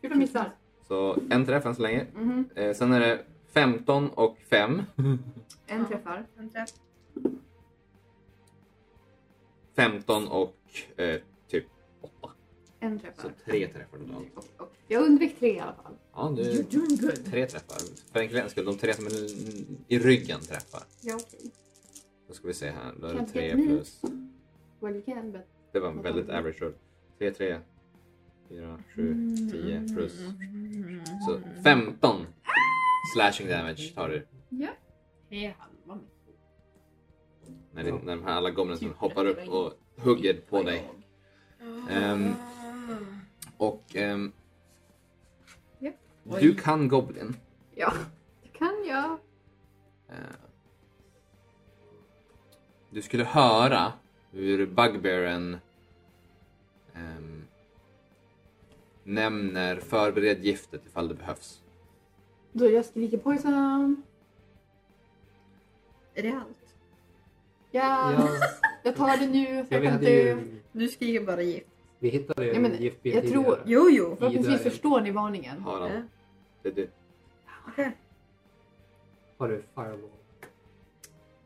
Speaker 1: 14 missar.
Speaker 4: Så en träff än så länge.
Speaker 1: Mhm.
Speaker 4: Eh, sen är det 15 och 5.
Speaker 1: En träffar.
Speaker 2: En träff.
Speaker 4: 15 och eh, typ 8.
Speaker 1: En
Speaker 4: Så
Speaker 1: träffar.
Speaker 4: tre träffar totalt.
Speaker 1: Och- och- Jag undvek tre i alla fall.
Speaker 4: Ja,
Speaker 5: You're
Speaker 4: du...
Speaker 5: doing good.
Speaker 4: Tre träffar. För enkelhetens skull, de tre som är i ryggen träffar.
Speaker 1: Ja, okej.
Speaker 4: Då ska vi se här. Då är det
Speaker 1: Can't
Speaker 4: tre
Speaker 1: get me.
Speaker 4: plus...
Speaker 1: Well you can but...
Speaker 4: Det var en väldigt average roll. 3, 3, 4,
Speaker 2: Mm.
Speaker 4: 7, 10 plus. Så 15 slashing damage tar du.
Speaker 5: Tre halva mitt. Typ
Speaker 4: När, din, när de här alla goblinsen hoppar upp och hugger på dig. Ehm, och ehm,
Speaker 1: Japp.
Speaker 4: du kan goblin.
Speaker 1: Ja, det kan jag.
Speaker 4: Eh, Du skulle höra hur bugbearen ehm, nämner förbered giftet ifall det behövs.
Speaker 1: Då jag skriker poison.
Speaker 2: Är det allt?
Speaker 1: Ja,
Speaker 3: Ja,
Speaker 1: jag tar det nu. Så
Speaker 3: ja,
Speaker 1: jag
Speaker 3: vi,
Speaker 1: kan
Speaker 3: hade
Speaker 1: dö.
Speaker 3: ju,
Speaker 2: Du skriver bara gift.
Speaker 3: vi hittade ju
Speaker 1: Nej, men
Speaker 3: en giftbil
Speaker 1: jag tror-
Speaker 3: tidigare.
Speaker 2: Jo, jo.
Speaker 1: Förhoppningsvis
Speaker 3: dörren.
Speaker 1: förstår ni varningen.
Speaker 4: Harald,
Speaker 2: Ja.
Speaker 4: det är du.
Speaker 2: Okej.
Speaker 3: Har du fireball?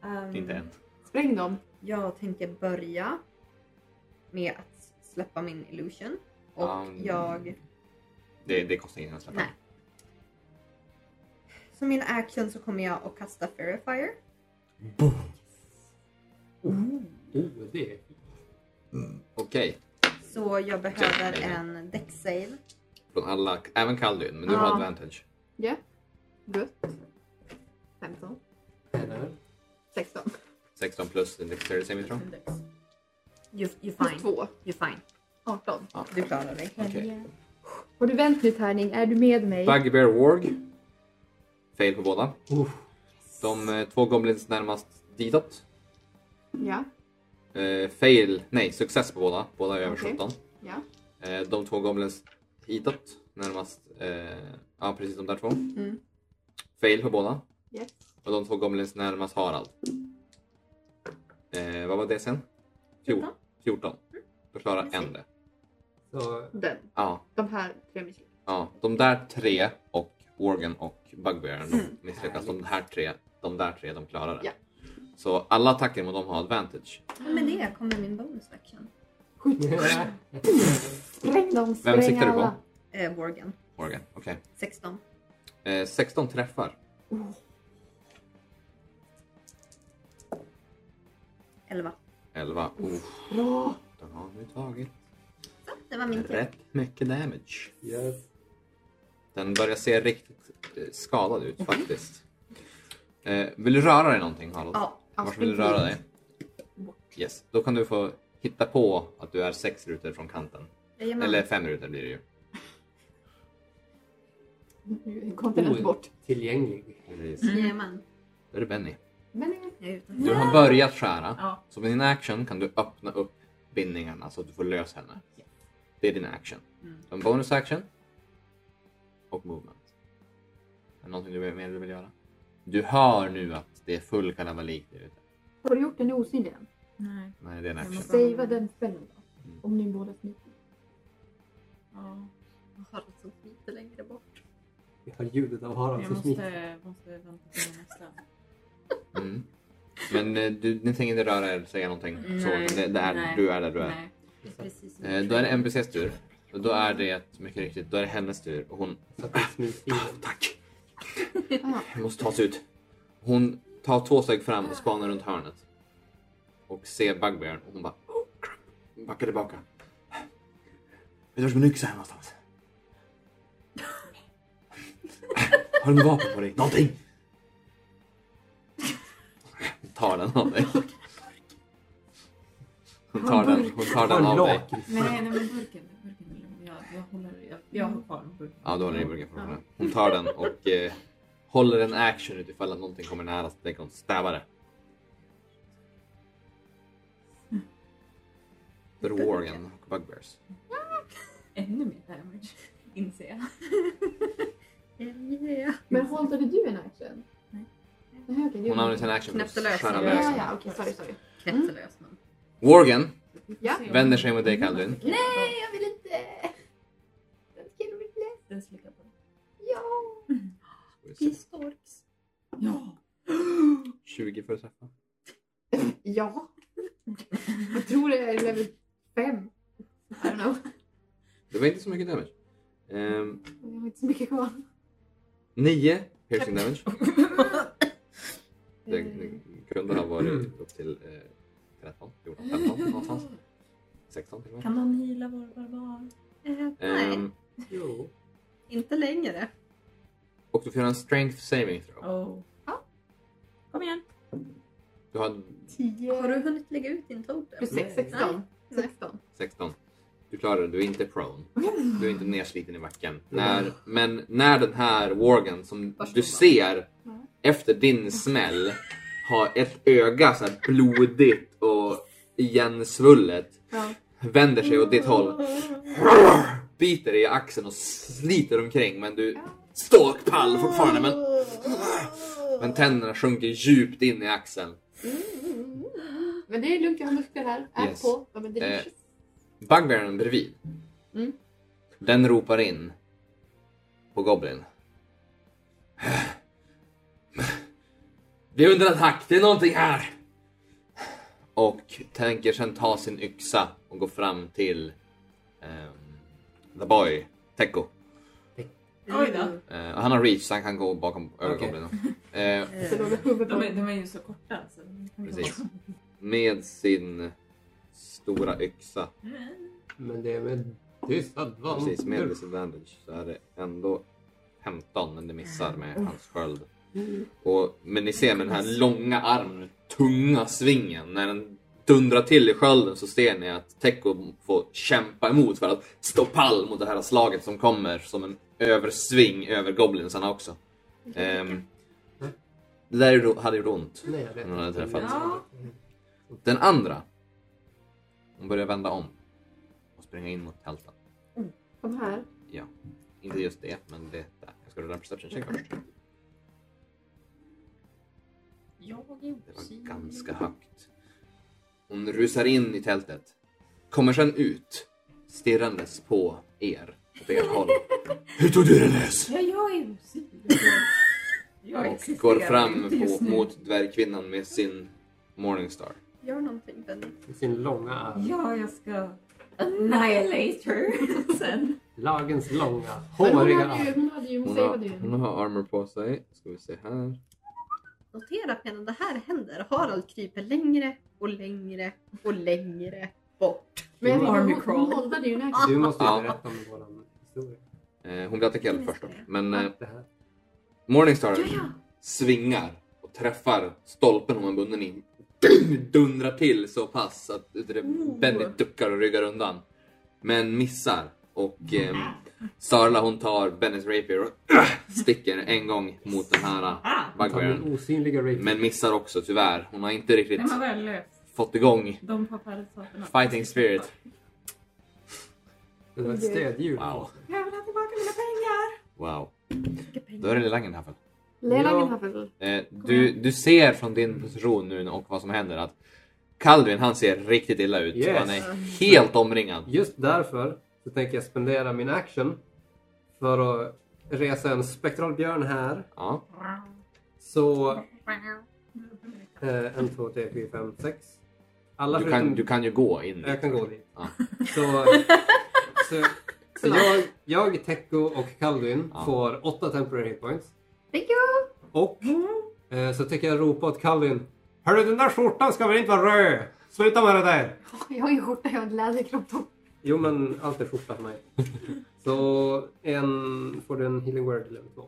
Speaker 2: Ehm,
Speaker 4: Inte än.
Speaker 1: Spräng dem.
Speaker 2: Jag tänker börja med att släppa min illusion. Och
Speaker 4: Um,
Speaker 2: jag...
Speaker 4: Det, det kostar ingen att släppa.
Speaker 2: Nej. Som min action så kommer jag att kasta Fairy Fire.
Speaker 3: Oh, det är
Speaker 4: Okej,
Speaker 2: Så jag behöver
Speaker 4: Ja, ja.
Speaker 2: en deck-save.
Speaker 4: från alla, även Kaldun, men du har
Speaker 1: Ja.
Speaker 4: advantage.
Speaker 1: Ja. Gött. 15.
Speaker 3: Eller?
Speaker 1: 16.
Speaker 4: 16 plus din dexterity saving throw.
Speaker 2: You, you
Speaker 1: Plus 2.
Speaker 2: You're fine.
Speaker 1: 18.
Speaker 2: Du klarar dig.
Speaker 4: Okej.
Speaker 1: Har du vänt nu tärning? Är du med mig?
Speaker 4: Bugbear Warg. Fail på båda.
Speaker 3: Oh,
Speaker 4: De eh, två goblins närmast ditåt.
Speaker 1: Ja.
Speaker 4: Eh, fail, nej, success på båda. Båda är över
Speaker 1: Okej.
Speaker 4: 17.
Speaker 1: Ja.
Speaker 4: Eh, de två goblins hitåt, närmast, eh, ja precis de där två.
Speaker 1: Mm.
Speaker 4: Fail på båda.
Speaker 1: Yes.
Speaker 4: Och de två goblins närmast Harald. Eh, vad var det sen? Fjor-
Speaker 2: 14.
Speaker 4: 14.
Speaker 1: Mm.
Speaker 4: Då klarar en
Speaker 2: Precis.
Speaker 4: det.
Speaker 3: så
Speaker 1: Den.
Speaker 4: Ja,
Speaker 1: De här tre misslyckas.
Speaker 4: ja. De där tre och Organ och Bugbearen de misslyckas. De här tre, de där tre, de klarar det.
Speaker 1: Mm. Ja.
Speaker 4: Så alla attacker mot dem har advantage.
Speaker 2: Och med det kommer min bonus action.
Speaker 1: Spräng dem. Spräng
Speaker 4: siktar du på?
Speaker 1: alla.
Speaker 2: Eh, Morgan.
Speaker 4: Organ, okej.
Speaker 2: 16.
Speaker 4: Eh, 16 träffar.
Speaker 2: 11.
Speaker 4: 11. Uff,
Speaker 1: Bra.
Speaker 4: den har nu tagit
Speaker 2: Så, det var min tur.
Speaker 4: rätt mycket damage.
Speaker 3: yes.
Speaker 4: Den börjar se riktigt eh, skadad
Speaker 1: Mm-hmm.
Speaker 4: ut faktiskt. Eh, vill du röra dig någonting Harald?
Speaker 2: Ja.
Speaker 4: Vart vill du röra dig? Yes. Då kan du få hitta på att du är sex rutor från kanten.
Speaker 2: Jajamän.
Speaker 1: Mm.
Speaker 4: Eller fem rutor blir det ju.
Speaker 1: Nu kom den inte bort.
Speaker 3: Oh, Tillgänglig.
Speaker 4: Precis.
Speaker 2: Jajamän.
Speaker 4: Då är det Benny.
Speaker 1: Men eh,
Speaker 2: Jag är utanför.
Speaker 4: Du har börjat skära.
Speaker 5: Ja.
Speaker 4: Så med din action kan du öppna upp bindningarna så att du får lös henne. Det är din action.
Speaker 5: Mm.
Speaker 4: Du har en bonus action. Och movement. Är det någonting du vill- mer du vill göra? Du hör nu att det är full kalabalik där ute.
Speaker 1: har du gjort den osynlig än?
Speaker 5: Nej.
Speaker 4: Nej, det är en
Speaker 5: Jag
Speaker 4: action.
Speaker 5: måste-
Speaker 1: Savea den spelen då.
Speaker 4: Mm.
Speaker 1: Om ni båda smiter.
Speaker 5: Ja.
Speaker 2: Jag har det så lite längre bort.
Speaker 3: Vi har ljudet av Harald
Speaker 5: Jag
Speaker 3: som smiter.
Speaker 5: måste, måste vänta på min nästa.
Speaker 4: Mm. Men eh, du, ni tänker inte röra er, säga någonting?
Speaker 5: Nej,
Speaker 4: så det, det är,
Speaker 5: nej,
Speaker 4: du är där du är.
Speaker 5: Nej.
Speaker 2: Det är precis
Speaker 4: Eh, då är det NPCs tur. Och då är det, mycket riktigt, då är det hennes tur. Och hon...
Speaker 3: Så att det smygs in.
Speaker 4: Tack!
Speaker 1: Ah.
Speaker 4: Jag måste ta sig ut. Hon tar två steg fram och spanar runt hörnet. Och ser Bugbearen och hon bara... Oh, crap. Backar tillbaka. Vet du var som en yxa här någonstans? Har du något vapen på dig? Någonting! Hon tar den av dig. Hon tar den, hon tar den
Speaker 3: Har
Speaker 4: av
Speaker 3: en
Speaker 4: dig.
Speaker 3: lakrits.
Speaker 5: Nej, nej men burken. burken jag, jag, håller, jag, jag har kvar burken.
Speaker 4: Ja, du håller i burken för honom. Hon tar den och eh, håller en action ut ifall att någonting kommer nära så tänker hon stäva det. Då är det Worgen och Bugbears.
Speaker 5: Ännu mer damage, inser jag.
Speaker 2: Yeah.
Speaker 1: Men har Hållade du en action?
Speaker 2: Nej.
Speaker 1: Nej, okej. du-
Speaker 4: Hon använder sin action för
Speaker 2: Knäppte
Speaker 4: att
Speaker 2: lös.
Speaker 4: skära
Speaker 1: Ja, ja,
Speaker 4: lös.
Speaker 1: ja, okej. Sorry, sorry.
Speaker 2: Knäppte lös men.
Speaker 4: Worgen
Speaker 1: Ja.
Speaker 4: vänder sig mot dig Calvin.
Speaker 1: Nej, jag vill inte! Den killen vill inte.
Speaker 5: Den slickar på.
Speaker 1: Ja!
Speaker 2: Pistorks.
Speaker 4: 20 för att träffa.
Speaker 1: Ja. Jag tror det är level 5. I don't know.
Speaker 4: Det var inte så mycket damage. Ehm,
Speaker 1: Jag har inte så mycket kvar.
Speaker 4: 9 piercing damage. Det,
Speaker 1: Eh,
Speaker 4: det kunde ha varit upp till eh, 13, 14, 15 någonstans. 16 till och med.
Speaker 5: Kan någon hila vår barbar?
Speaker 2: Eh, nej,
Speaker 4: Ehm,
Speaker 3: Jo.
Speaker 2: inte längre.
Speaker 4: och du får göra en strength saving throw.
Speaker 5: Oh.
Speaker 1: Ja.
Speaker 5: Kom igen.
Speaker 4: Du har
Speaker 1: 10...
Speaker 2: Har du hunnit lägga ut din totem?
Speaker 1: Plus 6, 16.
Speaker 2: Nej.
Speaker 1: 16.
Speaker 4: 16. Du klarar det, du är inte prone. Du är inte nedsliten i backen. När, men när den här Worgen som du ser efter din smäll har ett öga så här blodigt och igensvullet
Speaker 1: Ja.
Speaker 4: vänder sig åt ditt håll, biter dig i axeln och sliter omkring men du står pall fortfarande men, men tänderna sjunker djupt in i axeln.
Speaker 1: Men det är lugnt, jag har muskler här. Ät
Speaker 4: Yes.
Speaker 1: på. De är delicious.
Speaker 4: Bugbearen bredvid.
Speaker 1: Mm.
Speaker 4: Den ropar in på Goblin. Vi är under attack, det är någonting här! Och tänker sen ta sin yxa och gå fram till ehm, The Boy, Teko.
Speaker 5: Oj då.
Speaker 4: Eh, och han har reach så han kan gå bakom över
Speaker 3: Okej.
Speaker 4: Goblin. Eh,
Speaker 1: Så de är huvudet
Speaker 5: De är,
Speaker 1: på.
Speaker 5: de är ju så korta. Så de kan ju
Speaker 4: Precis.
Speaker 5: vara-
Speaker 4: med sin stora yxa
Speaker 3: Men det är med tyst advantage.
Speaker 4: Precis, med disadvantage så är det ändå 15 men det missar med hans sköld. Och, men ni ser med den här långa armen, den tunga svingen, när den dundrar till i skölden så ser ni att Teko får kämpa emot för att stå pall mot det här slaget som kommer som en översving över goblinsarna också. Ehm, det där är då- hade gjort ont.
Speaker 3: Nej, jag vet
Speaker 4: Hon hade
Speaker 3: inte.
Speaker 4: träffat.
Speaker 5: Ja.
Speaker 4: Den andra, hon börjar vända om och springa in mot tältet.
Speaker 5: Mm.
Speaker 1: De här.
Speaker 4: Ja, inte just det, men det där. Jag ska rulla en perception check först.
Speaker 5: Jag är
Speaker 4: Det
Speaker 5: precis-
Speaker 4: var ganska högt. Hon rusar in i tältet, kommer sen ut stirrandes på er, åt er håll. Hur tog du den lös?
Speaker 5: Ja, jag är osynlig. Jag
Speaker 4: Och
Speaker 5: existerar
Speaker 4: går fram
Speaker 5: inte just
Speaker 4: på,
Speaker 5: nu.
Speaker 4: mot dvärgkvinnan med sin Morningstar.
Speaker 2: Gör någonting Benny.
Speaker 3: Med sin långa arm.
Speaker 5: Ja, jag ska annihilate her sen.
Speaker 3: Lagens långa,
Speaker 1: Men hon
Speaker 3: håriga
Speaker 1: hade ju,
Speaker 3: arm.
Speaker 1: hon hade ju, hon
Speaker 4: Hon
Speaker 1: savade
Speaker 4: har, hon
Speaker 1: ju.
Speaker 4: har armor på sig. Ska vi se här.
Speaker 2: Notera att medan det här händer, Harald kryper längre och längre och längre bort.
Speaker 1: Men jag tycker
Speaker 5: Army
Speaker 1: hon,
Speaker 5: crawl.
Speaker 1: hon hållade ju en
Speaker 3: Du
Speaker 1: action.
Speaker 3: måste ju
Speaker 4: Ja.
Speaker 3: berätta om våran historia.
Speaker 4: Eh, hon blir attackerad först dock, men eh,
Speaker 3: Det här.
Speaker 4: Morningstar
Speaker 5: Ja, ja.
Speaker 4: svingar och träffar stolpen hon är bunden i. Dundrar till så pass att det-
Speaker 5: Oh.
Speaker 4: Benny duckar och ryggar undan. Men missar. Och eh, Sarla hon tar Bennys rapier och äh, sticker en gång mot den här
Speaker 5: Ah,
Speaker 3: Ta
Speaker 4: bugbearen.
Speaker 3: min osynliga rape.
Speaker 4: Men missar också tyvärr. Hon har inte riktigt
Speaker 5: den var väl lös.
Speaker 4: fått igång
Speaker 5: De papparaterna.
Speaker 4: fighting spirit.
Speaker 3: Det var ett stödhjul.
Speaker 4: Wow.
Speaker 5: Jag vill ha tillbaka mina pengar!
Speaker 4: Wow. Då är det Langen här.
Speaker 1: Leila
Speaker 3: Ja.
Speaker 1: Gnafel.
Speaker 4: Eh, du, du ser från
Speaker 3: Mm.
Speaker 4: din position nu och vad som händer att Calvin han ser riktigt illa ut.
Speaker 3: Yes.
Speaker 4: Han är helt omringad.
Speaker 3: Just därför så tänker jag spendera min action för att resa en spektral björn här.
Speaker 4: Ja.
Speaker 3: Så eh, en, två, tre, fyra, fem, sex. Alla
Speaker 4: Du,
Speaker 3: förutom...
Speaker 4: kan, du kan ju gå in. liksom.
Speaker 3: Jag kan gå dit.
Speaker 4: Ja.
Speaker 3: Så, så, så jag, jag, Teko och Calvin
Speaker 4: Ja.
Speaker 3: får åtta temporary hitpoints.
Speaker 1: Thank you! Mm.
Speaker 3: Och eh, så tycker jag ropa åt Calvin. Hörru den där skjortan ska väl inte vara röd? Sluta med det där!
Speaker 1: Jag har ingen skjorta, jag har en läderkropptopp.
Speaker 3: Jo men allt är skjorta för mig. Så en, får du en healing word eller två.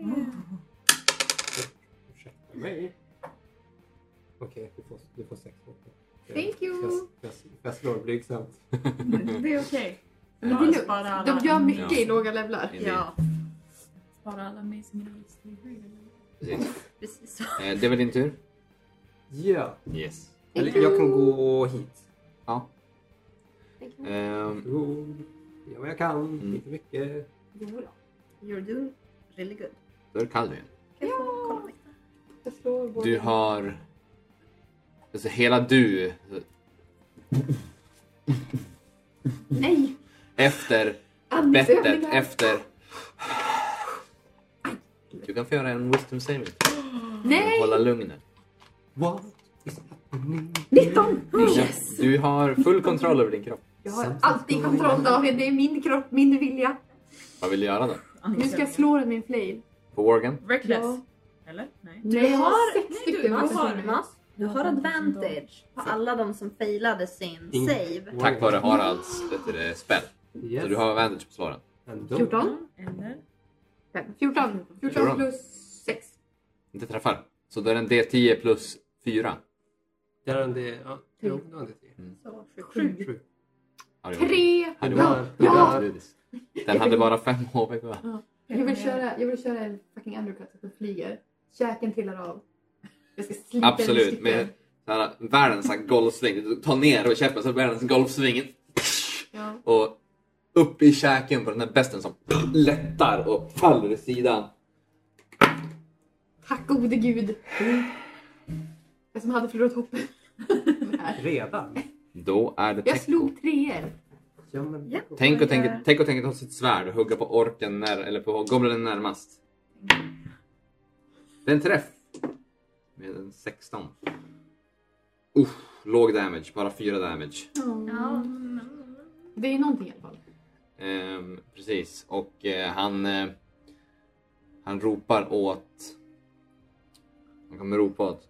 Speaker 5: Mm.
Speaker 3: Ursäkta mig. Okej, du, får, du får sex åtta.
Speaker 1: Thank you.
Speaker 3: Jag, jag, jag slår blygsamt.
Speaker 5: Det är okej.
Speaker 4: Men
Speaker 1: det är lugnt.
Speaker 5: Spara alla,
Speaker 1: De gör mycket
Speaker 4: Ja.
Speaker 1: i låga levlar.
Speaker 4: In i-
Speaker 2: Ja,
Speaker 5: spara alla amazing race till julen.
Speaker 4: Precis.
Speaker 2: precis så.
Speaker 4: Eh, det är väl din tur?
Speaker 3: Ja.
Speaker 4: Yes.
Speaker 3: Eller jag kan gå hit.
Speaker 4: Ja.
Speaker 1: Thank you.
Speaker 4: Ehm,
Speaker 3: Jo, ja, men jag kan.
Speaker 4: Mm.
Speaker 3: Inte mycket.
Speaker 1: Jodå.
Speaker 2: You're doing really good.
Speaker 4: Då är det Kalvin.
Speaker 2: Kan jag få kolla mig?
Speaker 1: Jag slår vår...
Speaker 4: Du har... Alltså hela du
Speaker 1: Nej!
Speaker 4: efter bettet,
Speaker 1: Andningsövningar.
Speaker 4: efter... Du kan få göra en wisdom saving.
Speaker 1: Nej!
Speaker 4: Hålla lugnet.
Speaker 3: What is happening?
Speaker 1: 19! Oh, Yes!
Speaker 4: Du har full kontroll över din kropp.
Speaker 1: Jag har alltid kontroll David. Det är min kropp, min vilja.
Speaker 4: Vad vill du göra då?
Speaker 1: Nu ska jag slå den med en flail.
Speaker 4: På Worgen?
Speaker 7: Reckless.
Speaker 1: Ja.
Speaker 7: Eller? Nej.
Speaker 1: Du jag
Speaker 7: har-
Speaker 1: har sex
Speaker 7: nej, du-
Speaker 1: stycken.
Speaker 7: du
Speaker 1: personer.
Speaker 7: har- Mas.
Speaker 2: Du har advantage på alla de som failade sin
Speaker 3: Ingen.
Speaker 2: save.
Speaker 4: Tack vare Haralds vet du, det, spel.
Speaker 3: Yes.
Speaker 4: Så du har advantage på svaren.
Speaker 3: And don't-
Speaker 1: 14.
Speaker 7: Eller?
Speaker 1: Fem. 14. 14
Speaker 4: Fjorton.
Speaker 1: plus 6.
Speaker 4: Inte träffar. Så då är det en D10 plus 4.
Speaker 3: Där är det... Ja, jo, det var det.
Speaker 4: Mm.
Speaker 2: Så sjukt.
Speaker 1: Sju.
Speaker 3: Sju.
Speaker 1: Tre!
Speaker 4: Hade
Speaker 3: Ja,
Speaker 4: varit-
Speaker 1: ja.
Speaker 4: hade varit- Den hade bara 5 HP kvar.
Speaker 1: Jag vill köra, jag vill köra en fucking undercut så att den flyger. Käken trillar av. Jag ska slita den i
Speaker 4: Absolut,
Speaker 1: stycken.
Speaker 4: med så här, världens så här golfsving. Du tar ner och käppen så världens golfsving
Speaker 1: Ja.
Speaker 4: och upp i käken på den här besten som lättar och faller i sidan.
Speaker 1: Tack gode gud. Mm. Jag som hade förlorat hoppet. Här.
Speaker 3: Redan?
Speaker 4: Då är det
Speaker 1: Jag
Speaker 4: tänk,
Speaker 1: slog treor.
Speaker 3: Ja, men...
Speaker 2: Ja.
Speaker 4: tänk och tänk, tänk och tänk att ta sitt svärd och hugga på orken när, eller på goblinen närmast. Det är en träff med en 16. Uff, låg damage, bara 4 damage.
Speaker 2: Ja.
Speaker 1: Det är någonting i alla fall.
Speaker 4: Ehm, precis, och eh, han, eh, han ropar åt... Han kommer ropa åt...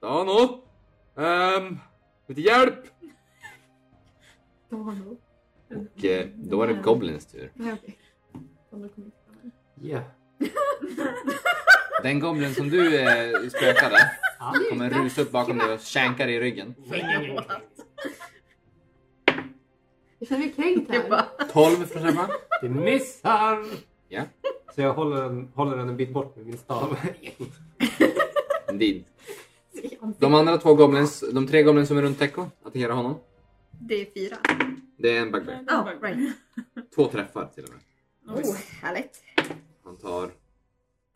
Speaker 4: Dano! Um, lite hjälp!
Speaker 1: Donald.
Speaker 4: Och eh, då är det Goblins tur.
Speaker 1: Nej okej. Donald kommer inte fram.
Speaker 3: Ja.
Speaker 4: Den Goblin som du eh, spökade
Speaker 3: Ja.
Speaker 4: kommer rusa upp bakom dig och shanka dig i ryggen.
Speaker 1: Jag känner mig kränkt
Speaker 2: Jag
Speaker 1: här.
Speaker 2: bara,
Speaker 4: 12 för att träffa.
Speaker 3: Det missar!
Speaker 4: Ja.
Speaker 3: Så jag håller den, håller den en bit bort med min stav.
Speaker 1: Oh.
Speaker 4: Indeed. De andra två Goblins, de tre Goblins som är runt Teko, attackerar honom.
Speaker 2: det är fyra.
Speaker 4: Det är en bugbear.
Speaker 2: Oh, right.
Speaker 4: Två träffar till och med.
Speaker 2: Oh, härligt.
Speaker 4: Han tar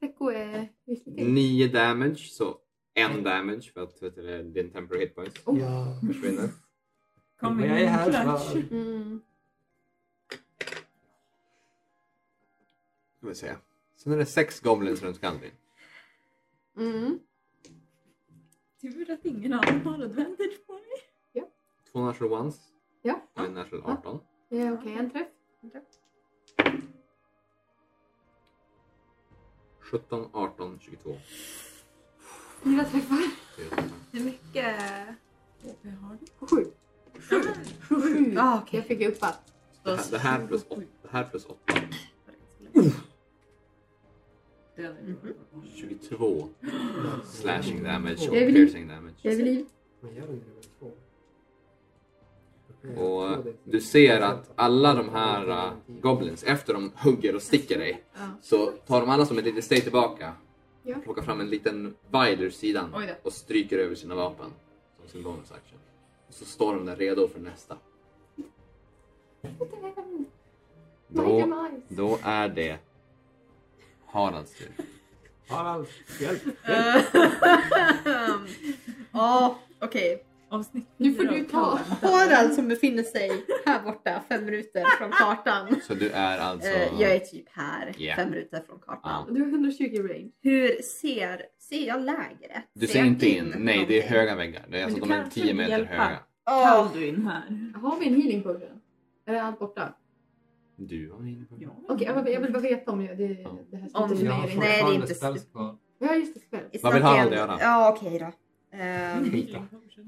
Speaker 1: Teko är misslyckad.
Speaker 4: 9 damage, så en damage för att vet du, det, din temporary hit points
Speaker 1: Oh.
Speaker 3: Ja.
Speaker 4: försvinner.
Speaker 7: Kom
Speaker 3: Men
Speaker 7: in
Speaker 3: jag är här
Speaker 7: flash.
Speaker 3: för...
Speaker 1: Mm.
Speaker 4: Ska vi se. Sen är det sex goblins runt Gandrin.
Speaker 1: Mm.
Speaker 7: Tur att ingen annan har advantage på mig.
Speaker 4: Två natural ones
Speaker 1: Ja.
Speaker 4: och en natural 18.
Speaker 1: Det är Okej, en träff.
Speaker 4: 17, 18, 22.
Speaker 1: Fyra träffar.
Speaker 2: Hur mycket?
Speaker 7: Det har du.
Speaker 1: Sju. Sju.
Speaker 2: Ja, okej.
Speaker 1: Jag fick upp att.
Speaker 4: Det här, det här plus åtta. Det här plus åtta.
Speaker 7: Dödar du.
Speaker 4: 22 slashing damage och
Speaker 1: Jag vill-
Speaker 4: piercing damage.
Speaker 1: Jag är vid liv.
Speaker 3: Men gör den det väl två?
Speaker 4: Och du ser att alla de här äh, goblins, efter de hugger och sticker dig, så tar de alla som ett litet steg tillbaka.
Speaker 1: Ja.
Speaker 4: Plockar fram en liten vial ur sidan
Speaker 7: Oj då.
Speaker 4: och stryker över sina vapen. Som sin bonus action. Och så står de där redo för nästa.
Speaker 1: My
Speaker 4: Då,
Speaker 1: demise.
Speaker 4: då är det Haralds tur.
Speaker 3: Harald, hjälp!
Speaker 2: Ja, okej.
Speaker 7: Avsnitt
Speaker 1: Nu får du ta.
Speaker 2: Harald som befinner sig här borta fem minuter från kartan.
Speaker 4: Så du är alltså...
Speaker 2: Eh, jag är typ här
Speaker 4: Ja.
Speaker 2: fem minuter från kartan.
Speaker 1: Du har 120 range.
Speaker 2: Hur ser, ser jag lägret?
Speaker 4: Du ser
Speaker 2: jag
Speaker 4: inte in. Nej, det är
Speaker 2: någonting?
Speaker 4: höga väggar. Det är alltså
Speaker 7: du
Speaker 4: de är
Speaker 7: kanske
Speaker 4: 10
Speaker 7: vill
Speaker 4: meter
Speaker 7: hjälpa.
Speaker 4: höga.
Speaker 2: Åh,
Speaker 7: Kall du in här.
Speaker 1: Har vi en healing potion? Är allt borta?
Speaker 4: Du har ingen
Speaker 7: Ja.
Speaker 1: Okej, jag, vill- jag vill bara veta om jag, det,
Speaker 4: Ja.
Speaker 1: det här
Speaker 2: Om-
Speaker 1: slutar
Speaker 3: Jag
Speaker 1: med
Speaker 3: har
Speaker 2: nej,
Speaker 1: healing.
Speaker 2: det är
Speaker 3: fortfarande
Speaker 2: inte
Speaker 3: spells
Speaker 2: slut.
Speaker 3: kvar.
Speaker 1: Ja, just det. Spel.
Speaker 2: It's
Speaker 4: Vad vill
Speaker 2: not the
Speaker 4: Harald
Speaker 2: end.
Speaker 4: göra?
Speaker 2: Ja, okej då. Ehm,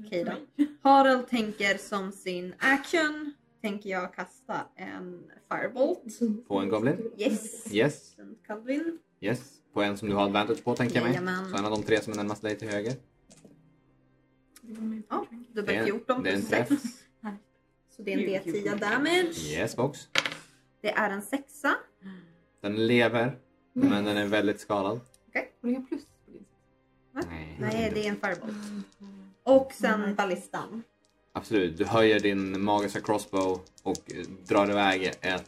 Speaker 2: Okej då. Harald tänker som sin action tänker jag kasta en firebolt.
Speaker 4: På en goblin?
Speaker 2: Yes.
Speaker 4: Yes.
Speaker 2: Runt Calvin.
Speaker 4: Yes. På en som du har advantage på tänker jag mig.
Speaker 2: Jajamän.
Speaker 4: Så en av de tre som är närmast dig till höger.
Speaker 2: Ja,
Speaker 4: Det är
Speaker 2: dubbel
Speaker 4: en,
Speaker 2: 14
Speaker 4: det är en
Speaker 2: plus
Speaker 4: träff.
Speaker 2: 6. Så det är en D10 damage.
Speaker 4: Yes box.
Speaker 2: Det är en sexa.
Speaker 4: Den lever. Men den är väldigt skadad.
Speaker 1: Har du inga plus liksom. på din sida?
Speaker 4: Nej.
Speaker 2: Nej, det är en firebolt. Och sen ballistan.
Speaker 4: Absolut. Du höjer din magiska crossbow och eh, drar iväg ett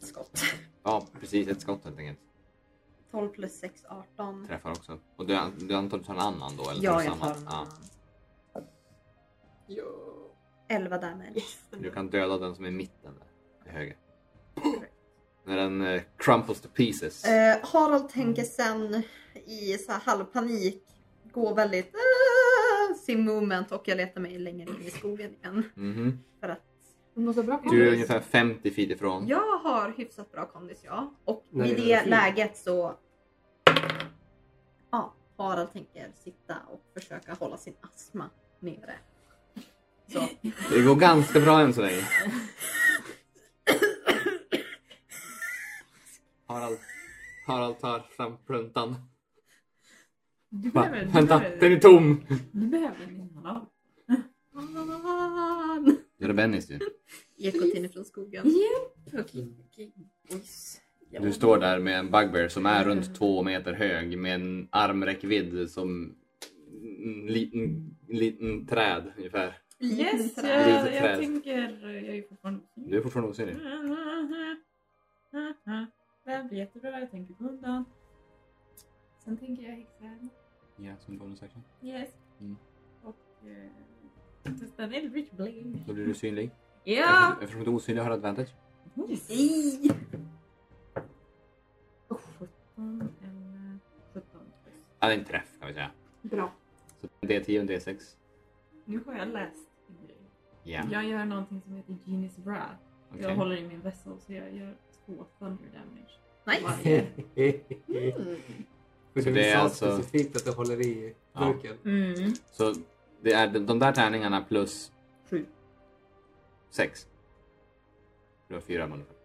Speaker 2: skott.
Speaker 4: Ja, precis. Ett skott helt enkelt.
Speaker 2: 12 plus 6, 18.
Speaker 4: Träffar också. Och du, du antar du tar en annan då? Eller
Speaker 2: Ja,
Speaker 4: du
Speaker 2: jag
Speaker 4: samma?
Speaker 2: tar en
Speaker 4: ja.
Speaker 2: annan. 11 damage.
Speaker 4: Du kan döda den som är i mitten där, till höger. När den eh, crumples to pieces.
Speaker 2: Eh,
Speaker 3: Mm.
Speaker 2: Harald tänker sen i så här halvpanik gå väldigt äh, sin movement och jag letar mig längre in i skogen igen.
Speaker 4: Mhm.
Speaker 2: För att
Speaker 1: Du måste ha bra
Speaker 4: Du är
Speaker 1: kompis.
Speaker 4: ungefär 50 feet ifrån.
Speaker 2: jag har hyfsat bra kondis ja. Och
Speaker 3: Nej,
Speaker 2: i
Speaker 3: det är
Speaker 2: det
Speaker 3: fint.
Speaker 2: läget så ja, Harald tänker sitta och försöka hålla sin astma nere. Så.
Speaker 4: Det går ganska bra än så länge. Harald, Harald tar fram pluntan.
Speaker 5: Du
Speaker 4: Va?
Speaker 5: behöver, du
Speaker 4: Vänta, den
Speaker 5: behöver,
Speaker 4: är tom!
Speaker 5: du behöver en inhaler.
Speaker 2: Fan!
Speaker 4: Gör det Bennys tur.
Speaker 2: Ekot inifrån skogen.
Speaker 7: Japp, okej, okej. Boys. Ja.
Speaker 4: Du står där med en bugbear som är runt två meter hög med en armräckvidd som en liten, en liten träd ungefär.
Speaker 5: Yes,
Speaker 2: Lite
Speaker 5: jag,
Speaker 4: Litet
Speaker 5: jag
Speaker 4: träd.
Speaker 5: tänker... Jag är ju fortfarande
Speaker 4: Du är fortfarande osynlig.
Speaker 5: Det blir jättebra, jag tänker på undan. Sen tänker jag häxan.
Speaker 4: Ja, som bonus action.
Speaker 5: Yes.
Speaker 4: Mm.
Speaker 5: Och... eh, Testa en Eldritch Blade.
Speaker 4: Då blir du synlig.
Speaker 5: Ja!
Speaker 4: Eftersom- Eftersom du är osynlig har du advantage.
Speaker 2: I.
Speaker 5: Oh, 17 eller 17.
Speaker 4: Ja, det är en träff kan vi säga.
Speaker 1: Bra.
Speaker 4: Så D10 och D6.
Speaker 5: Nu har jag läst en grej.
Speaker 4: Ja.
Speaker 5: Jag gör någonting som heter Genius Bra. Jag
Speaker 4: okej.
Speaker 5: håller i min vessel så jag gör två thunder damage.
Speaker 2: Nice.
Speaker 5: Varje.
Speaker 3: För
Speaker 1: Mm.
Speaker 4: Så
Speaker 3: du
Speaker 4: det är
Speaker 3: sa
Speaker 4: alltså-
Speaker 3: specifikt att du håller i
Speaker 4: Ja.
Speaker 3: burken.
Speaker 5: Mm.
Speaker 4: Så det är de, de där tärningarna plus...
Speaker 5: Sju.
Speaker 4: Sex. Du har fyra manufakturer.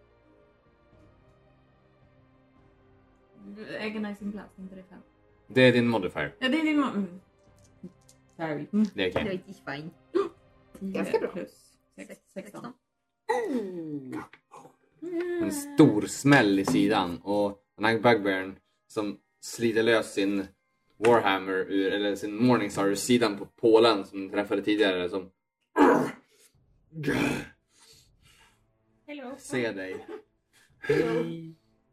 Speaker 5: Agonizing blast, inte det fem.
Speaker 4: Det är din modifier.
Speaker 5: Ja, det är din ma- mm. Sorry. Mm.
Speaker 4: Det är okej.
Speaker 2: Jag gick fine.
Speaker 1: Ganska bra.
Speaker 5: Plus sex, 16.
Speaker 4: En stor smäll i sidan och den här bugbearen som sliter lös sin Warhammer ur, eller sin Morningstar ur sidan på pålen som den träffade tidigare som
Speaker 5: Hello.
Speaker 4: ser dig.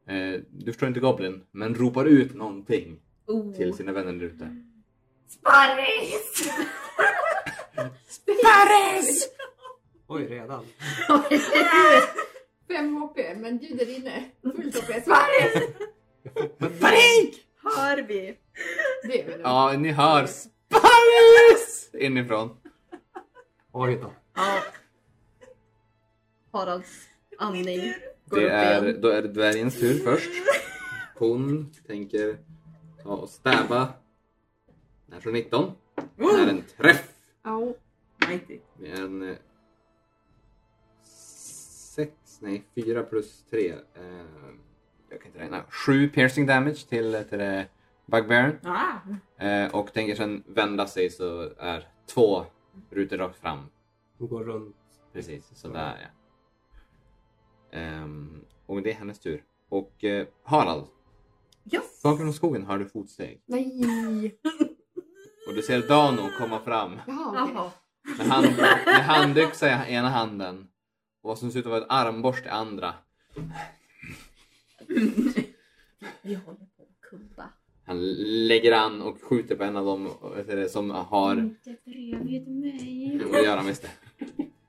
Speaker 4: Eh, du förstår inte Goblin, men ropar ut någonting
Speaker 2: Oh.
Speaker 4: till sina vänner där ute.
Speaker 1: Sparris!
Speaker 4: Paris!
Speaker 3: Oj, redan.
Speaker 1: Fem HP, men du där inne,
Speaker 4: Mm.
Speaker 1: fullt HP. Sparris!
Speaker 4: Panik!
Speaker 2: Hör vi?
Speaker 1: Det är väl en-
Speaker 4: Ja, ni hör Paris! Inifrån.
Speaker 3: Oj då.
Speaker 2: Ja. Haralds andning går
Speaker 4: Det
Speaker 2: upp
Speaker 4: är,
Speaker 2: igen.
Speaker 4: då är det dvärgens tur först. Hon tänker ta och stäba. Den från 19. Det är en träff
Speaker 1: Ja.
Speaker 5: Mighty.
Speaker 4: med en eh, 6, nej 4 plus 3. Jag kan inte räkna. 7 piercing damage till, till eh, bugbearen.
Speaker 5: Ah!
Speaker 4: Eh, Och tänker sen vända sig så är två rutor rakt fram
Speaker 3: Hon går runt.
Speaker 4: Precis, sådär ja. Ehm, och det är hennes tur. Och eh, Harald,
Speaker 2: Ja.
Speaker 4: bakom från skogen hör du fotsteg.
Speaker 1: Nej.
Speaker 4: Och du ser Dano komma fram
Speaker 1: Jaha, okej.
Speaker 2: Jaha.
Speaker 4: med, hand, med handyxa i ena handen och vad som ser ut att vara ett armborst i andra.
Speaker 2: Vi håller på att kubba.
Speaker 4: Han lägger an och skjuter på en av dem och vet du det, som har
Speaker 7: Inte bredvid mig.
Speaker 4: att göra med det.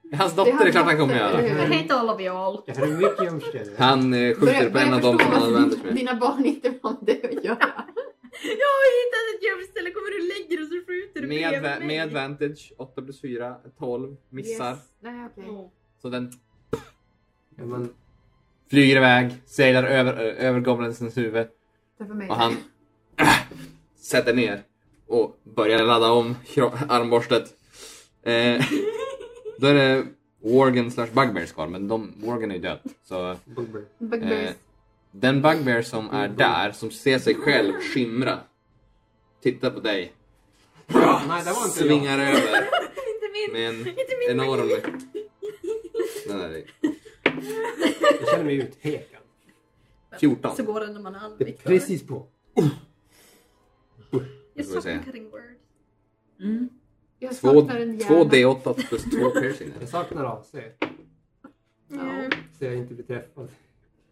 Speaker 4: Det är Hans
Speaker 1: Det är
Speaker 4: dotter, det är
Speaker 1: hans
Speaker 4: klart han kommer
Speaker 1: dotter,
Speaker 4: göra.
Speaker 1: eller hur?
Speaker 2: Hate all of y'all.
Speaker 3: Det här är mycket gömsel.
Speaker 4: Han eh, skjuter
Speaker 1: Börjar-
Speaker 4: på en
Speaker 1: börjar
Speaker 4: av dem som
Speaker 1: förstå
Speaker 4: han
Speaker 1: vad
Speaker 4: använder sig med.
Speaker 1: Dina barn inte har med det att göra.
Speaker 2: Jag har hittat ett gömställe. Kommer du lägger och så skjuter du
Speaker 4: Med,
Speaker 2: bredvid mig.
Speaker 4: med advantage, 8 plus 4, 12, missar.
Speaker 1: Yes. Nej, okej.
Speaker 5: Mm.
Speaker 4: Så den
Speaker 3: Ja, men
Speaker 4: flyger iväg, seglar över, ö- över goblinsens huvud
Speaker 1: Träffa mig.
Speaker 4: och han sätter ner och börjar ladda om kro- armborstet. Eh, då är det Worgen slash Bugbears kvar, men de, Worgen är ju död. Så
Speaker 3: bugbear.
Speaker 1: Bugbears.
Speaker 4: eh, den Bugbear som är där, som ser sig själv skimra, tittar på dig,
Speaker 3: Nej, det var inte
Speaker 4: svingar över
Speaker 7: Inte min.
Speaker 4: med en
Speaker 7: Inte min.
Speaker 4: enorm... Den där är
Speaker 3: jag. Jag känner mig utpekad.
Speaker 4: 14.
Speaker 2: Så går det när man är
Speaker 3: Det är
Speaker 2: aldrig klar.
Speaker 3: precis på.
Speaker 2: Jag
Speaker 4: Får vi
Speaker 2: saknar
Speaker 4: se.
Speaker 2: cutting word.
Speaker 5: Mm.
Speaker 1: Jag
Speaker 4: Två,
Speaker 1: saknar en
Speaker 4: två
Speaker 1: hjärna.
Speaker 4: D8 plus två piercing.
Speaker 3: Jag saknar AC,
Speaker 1: Ja.
Speaker 3: så jag inte blir träffad.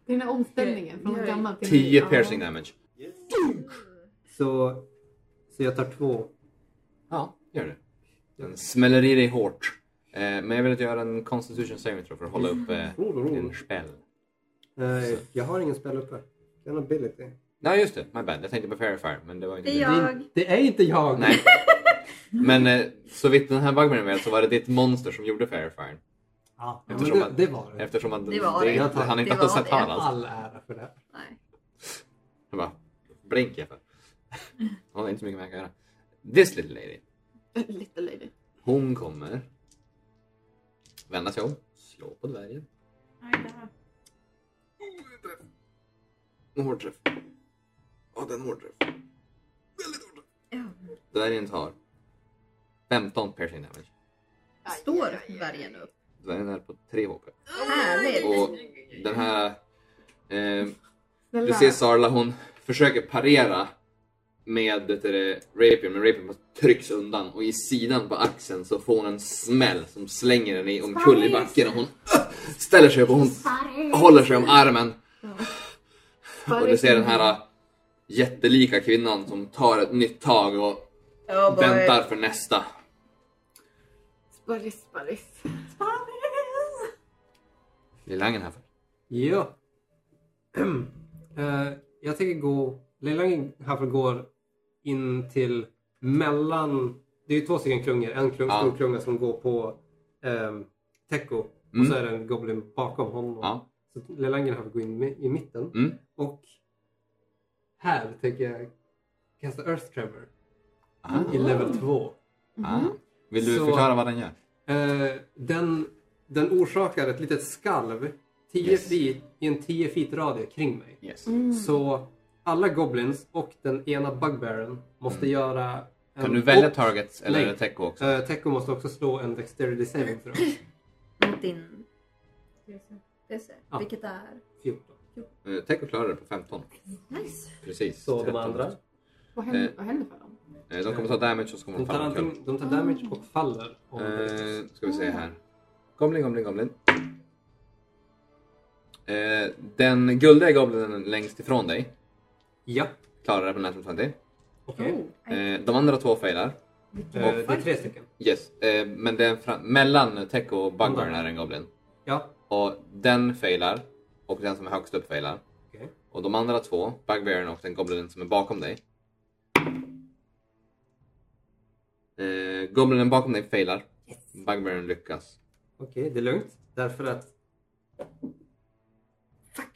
Speaker 1: Det är den här omställningen från
Speaker 5: Okej.
Speaker 1: gammal till
Speaker 4: 10
Speaker 1: ny.
Speaker 4: piercing damage.
Speaker 3: Så, så jag tar två.
Speaker 4: Ja, gör det. Den smäller i dig hårt. Eh, men jag vill att du gör en constitution saving throw för att hålla upp eh, din spell.
Speaker 3: Eh, jag har ingen spel uppe. Det är en ability.
Speaker 4: Nej, just det. My bad. Jag tänkte på Fairfire, men det var inte
Speaker 2: Det är
Speaker 3: Det
Speaker 2: jag.
Speaker 3: är, det är inte jag!
Speaker 4: Nej. Men eh, så vitt den här bugmen vet så var det ditt monster som gjorde Fairfire.
Speaker 3: Ja, men
Speaker 4: Eftersom
Speaker 3: det,
Speaker 4: att-
Speaker 3: det var det.
Speaker 4: Eftersom att
Speaker 2: Det var
Speaker 3: det.
Speaker 4: han
Speaker 2: Det
Speaker 4: inte hade
Speaker 2: var
Speaker 4: sett
Speaker 2: det.
Speaker 4: han alls.
Speaker 3: All ära för det här.
Speaker 2: Nej.
Speaker 4: Jag bara, blink jag för. Hon har inte så mycket mer jag kan göra. This little lady.
Speaker 1: Little lady.
Speaker 4: Hon kommer vända sig om, slå på dvärgen. En hård träff. Ja, den hård träff. Väldigt hård
Speaker 2: Ja.
Speaker 4: träff. Dvärgen tar 15 piercing damage.
Speaker 2: Står dvärgen upp?
Speaker 4: Dvärgen är på 3 HP.
Speaker 2: Härligt!
Speaker 4: Och den här... Eh, du
Speaker 1: Snälla.
Speaker 4: ser Sarla, hon försöker parera med det det, rapier, men rapier trycks undan och i sidan på axeln så får hon en smäll som slänger henne i- omkull i backen och hon äh, ställer sig upp och hon håller sig om armen. Och du ser den här äh, jättelika kvinnan som tar ett nytt tag och
Speaker 2: Oh boy.
Speaker 4: väntar för nästa.
Speaker 1: Sparris, sparris.
Speaker 4: Lilangen här för.
Speaker 3: Ja. Eh, jag tänker gå... Lilla Haffel går in till mellan... Det är ju två stycken klungor. En klung,
Speaker 4: Ja.
Speaker 3: stor klunga som går på um, Teko
Speaker 4: Mm.
Speaker 3: och så är det en Goblin bakom honom.
Speaker 4: Ja.
Speaker 3: Så Lilla Haffel går in i, i mitten.
Speaker 4: Mm.
Speaker 3: Och här tänker jag kasta Earth Trevor
Speaker 4: Ah.
Speaker 3: i level 2.
Speaker 4: Ah. Vill du
Speaker 3: Mm-hmm. Så-
Speaker 4: förklara vad den gör?
Speaker 3: Eh, den, den orsakar ett litet skalv 10
Speaker 4: Yes.
Speaker 3: feet, i en 10 feet radie kring mig.
Speaker 4: Yes.
Speaker 1: Mm.
Speaker 3: Så alla goblins och den ena bugbearen måste
Speaker 4: Mm.
Speaker 3: göra... En,
Speaker 4: Kan du välja
Speaker 3: och,
Speaker 4: targets eller
Speaker 3: nej.
Speaker 4: är det Teco också?
Speaker 3: eh, Teko måste också slå en dexterity saving throw.
Speaker 2: Mot din... DC.
Speaker 3: Ja.
Speaker 2: Vilket är...
Speaker 3: 14.
Speaker 4: Eh, Teco klarade det på 15.
Speaker 2: Nice.
Speaker 4: Precis.
Speaker 3: Så de
Speaker 4: 13.
Speaker 3: andra,
Speaker 1: Vad händer,
Speaker 4: Eh.
Speaker 1: vad händer för dem?
Speaker 4: Eh, De kommer ta damage och så kommer
Speaker 3: de
Speaker 4: de
Speaker 3: tar,
Speaker 4: falla omkull.
Speaker 3: antingen, de tar damage och faller. om de
Speaker 4: Eh,
Speaker 3: lyckas.
Speaker 4: ska vi se här. Goblin, Goblin, Goblin. Eh, den guldiga goblinen längst ifrån dig
Speaker 3: Ja,
Speaker 4: klarar det på Natural 20. Eh,
Speaker 3: okej.
Speaker 5: Oh,
Speaker 4: de andra två failar.
Speaker 3: Eh, det är tre stycken.
Speaker 4: Yes. Eh, men det är en fram- mellan Teco och Bugburn är en goblin.
Speaker 3: Ja,
Speaker 4: Och den failar. Och den som är högst upp failar.
Speaker 3: Okej.
Speaker 4: Och de andra två, Bugbearen och den goblinen som är bakom dig. Eh, goblinen bakom dig failar. Bugbearen lyckas.
Speaker 3: okej. det är lugnt. Därför att... Fuck!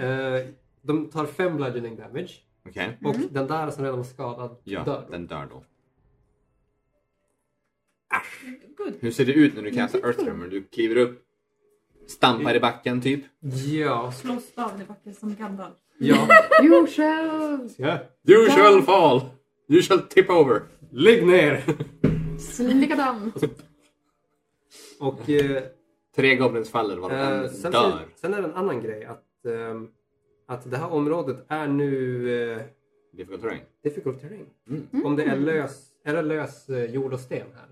Speaker 3: Eh, de tar fem bludgeoning damage.
Speaker 4: Okej.
Speaker 3: Och den där som redan var skadad
Speaker 4: Ja,
Speaker 3: dör.
Speaker 4: den dör då.
Speaker 7: Good.
Speaker 4: Hur ser det ut när du kastar Earthtremor? Du kliver upp, stampar i backen typ.
Speaker 3: Ja.
Speaker 7: Slå staven i backen som Gandalf.
Speaker 3: Ja.
Speaker 6: You shall
Speaker 3: ja.
Speaker 4: You shall fall! You shall tip over!
Speaker 3: Ligg ner!
Speaker 1: Slika dem.
Speaker 3: Och eh,
Speaker 4: Tre goblins faller varav
Speaker 3: eh,
Speaker 4: en
Speaker 3: sen,
Speaker 4: dör.
Speaker 3: sen är det en annan grej att, ehm, att det här området är nu eh,
Speaker 4: Difficult terrain.
Speaker 3: difficult terrain.
Speaker 4: Mm.
Speaker 3: Om det är lös, är det lös eh, jord och sten här?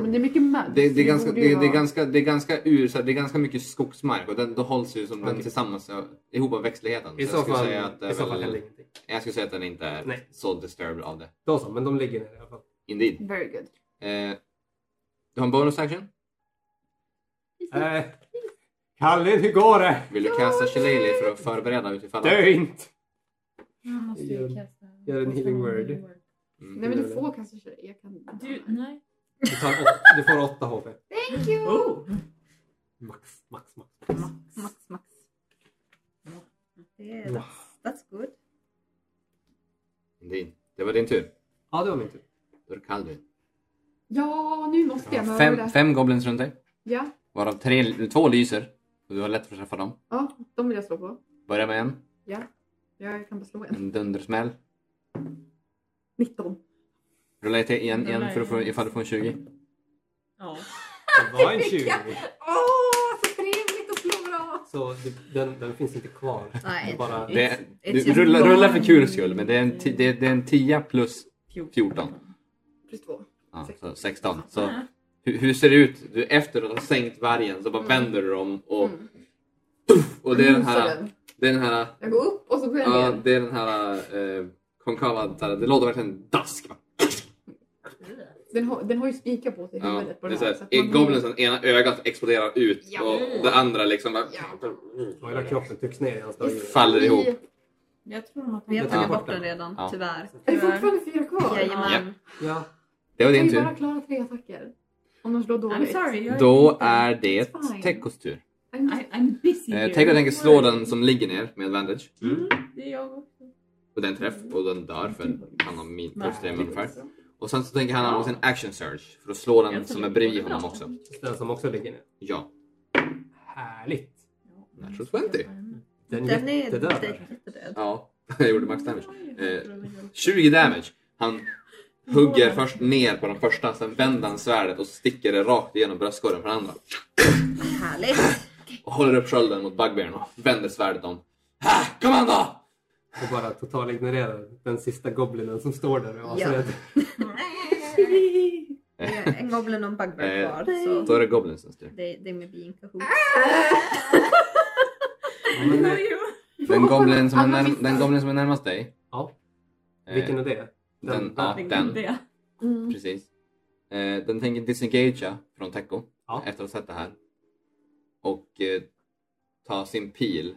Speaker 1: Men det är mycket möss.
Speaker 4: Mm. Det, det, är ganska,
Speaker 1: borde
Speaker 4: det,
Speaker 1: ju
Speaker 4: det, är
Speaker 1: vara-
Speaker 4: ganska, det är ganska ur, så här, det är ganska mycket skogsmark och den, då hålls ju som den
Speaker 3: Okej.
Speaker 4: tillsammans ja, ihop av växtligheten.
Speaker 3: I
Speaker 4: Så
Speaker 3: så
Speaker 4: jag, skulle
Speaker 3: fall,
Speaker 4: säga att det
Speaker 3: i
Speaker 4: är
Speaker 3: så fall
Speaker 4: väl,
Speaker 3: händer ingenting.
Speaker 4: jag skulle säga att den inte är
Speaker 3: Nej.
Speaker 4: så disturbed av det.
Speaker 3: Då så, men de ligger ner i alla fall.
Speaker 4: Indeed.
Speaker 1: Very good.
Speaker 4: Eh, du har en bonus action?
Speaker 3: Eh, Kalle, hur går det?
Speaker 4: Vill du kasta Shillelagh för att förbereda utifall?
Speaker 3: Dö inte!
Speaker 7: Jag måste
Speaker 3: Gör-
Speaker 7: ju kasta.
Speaker 3: gör en healing word.
Speaker 4: Mm.
Speaker 1: Nej men du får kanske tjejer. Jag kan...
Speaker 7: Du, nej.
Speaker 3: Du, tar åt, du får 8 HP.
Speaker 1: Thank you!
Speaker 7: Oh.
Speaker 3: Max, max, max.
Speaker 2: Max, max. Det är, that's good.
Speaker 4: Indeed. Det var din tur.
Speaker 3: Ja, det var min tur.
Speaker 4: Då är det Kaldu.
Speaker 1: Ja, nu måste jag. men jag
Speaker 4: Fem,
Speaker 1: vill-
Speaker 4: fem goblins runt dig,
Speaker 1: Ja,
Speaker 4: varav tre, två lyser. Och du har lätt för att träffa dem.
Speaker 1: ja, de vill jag slå på.
Speaker 4: Börja med en,
Speaker 1: Jag kan bara slå en.
Speaker 4: en dundersmäll.
Speaker 1: 19.
Speaker 4: Rulla till igen, igen för att få, ifall du får en 20.
Speaker 7: Ja.
Speaker 3: Det var en 20.
Speaker 1: Åh, så trevligt att slå bra!
Speaker 3: Så du, den, den finns inte kvar.
Speaker 2: Nej.
Speaker 3: Det är bara...
Speaker 4: Det, är-
Speaker 2: it's
Speaker 4: du,
Speaker 2: a
Speaker 4: rulla,
Speaker 2: bonus.
Speaker 4: rulla för kul skull, men det är en, ti, det, är- det är en 10 plus 14.
Speaker 1: Plus två.
Speaker 4: Ja, så
Speaker 1: Uh-huh.
Speaker 4: 16. Så hur, hur ser det ut? Du, efter att ha sänkt vargen så bara vänder du om och
Speaker 1: Mm.
Speaker 4: Och det är den
Speaker 1: Mosar
Speaker 4: här,
Speaker 1: den.
Speaker 4: det är den här,
Speaker 1: Jag går upp och så går jag
Speaker 4: ja,
Speaker 1: ner.
Speaker 4: det är den här eh, konkava, så här, det låter verkligen dask. va?
Speaker 1: Den, har, den har ju spikar på sig i
Speaker 4: Ja,
Speaker 1: huvudet.
Speaker 4: det
Speaker 1: på
Speaker 4: är
Speaker 1: den
Speaker 4: så
Speaker 1: här,
Speaker 4: här,
Speaker 1: att
Speaker 4: I
Speaker 1: man-
Speaker 4: goblinsen ena ögat exploderar ut
Speaker 1: Ja.
Speaker 4: och det andra liksom bara,
Speaker 3: Och hela kroppen trycks ner i hans dagar.
Speaker 4: faller ihop.
Speaker 5: Jag tror de har
Speaker 2: Vi har
Speaker 4: Ja.
Speaker 2: tagit bort den redan,
Speaker 4: Ja.
Speaker 2: tyvärr.
Speaker 1: Är det fortfarande fyra kvar?
Speaker 2: Jajamän.
Speaker 3: Ja.
Speaker 4: Det var
Speaker 1: Jag kan
Speaker 4: din
Speaker 1: ju bara
Speaker 4: tur.
Speaker 1: klara tre attacker. Om de slår dåligt.
Speaker 5: I'm sorry. jag
Speaker 4: Då
Speaker 5: inte-
Speaker 4: är det
Speaker 5: It's fine.
Speaker 4: Tekos tur.
Speaker 1: I'm
Speaker 5: I, I'm busy
Speaker 4: Eh,
Speaker 5: here.
Speaker 4: Teko tänker slå den som ligger ner med advantage.
Speaker 7: Det är jag också.
Speaker 4: Och den träff och den dör för han har min plus tre ungefär. Och sen så tänker han använda sin action surge för att slå den som är bredvid honom också.
Speaker 3: Den som också ligger ner.
Speaker 4: Ja,
Speaker 3: Härligt.
Speaker 4: natural 20.
Speaker 3: Den,
Speaker 2: Den är
Speaker 3: jättedör.
Speaker 2: jättedöd.
Speaker 4: Ja, jag gjorde max damage. Eh, 20 damage. Han hugger först ner på den första, sen vänder han svärdet och sticker det rakt igenom bröstkorgen på den andra.
Speaker 2: Härligt.
Speaker 4: Och håller upp skölden mot bugbearen och vänder svärdet om. Här, kom igen då!
Speaker 3: Och bara total ignorerar den sista goblinen som står där och är
Speaker 2: Ja.
Speaker 3: asrädd.
Speaker 2: Det är En goblin och en bugbear
Speaker 4: Eh,
Speaker 2: kvar. Så
Speaker 4: Då är det Goblinsens tur.
Speaker 2: det, det är med being kahoot.
Speaker 3: Ja,
Speaker 4: Mm.
Speaker 3: men, eh,
Speaker 4: Den goblin som är,
Speaker 1: Alla
Speaker 4: närm-
Speaker 1: missar.
Speaker 4: den goblin som är närmast dig.
Speaker 3: Ja.
Speaker 4: eh,
Speaker 3: Vilken är det?
Speaker 4: Den, ja,
Speaker 3: där.
Speaker 4: den.
Speaker 7: Det.
Speaker 1: Mm.
Speaker 4: Precis. Eh, den tänker disengagea från Teko
Speaker 3: Ja.
Speaker 4: efter att ha sett det här. Och eh, ta sin pil.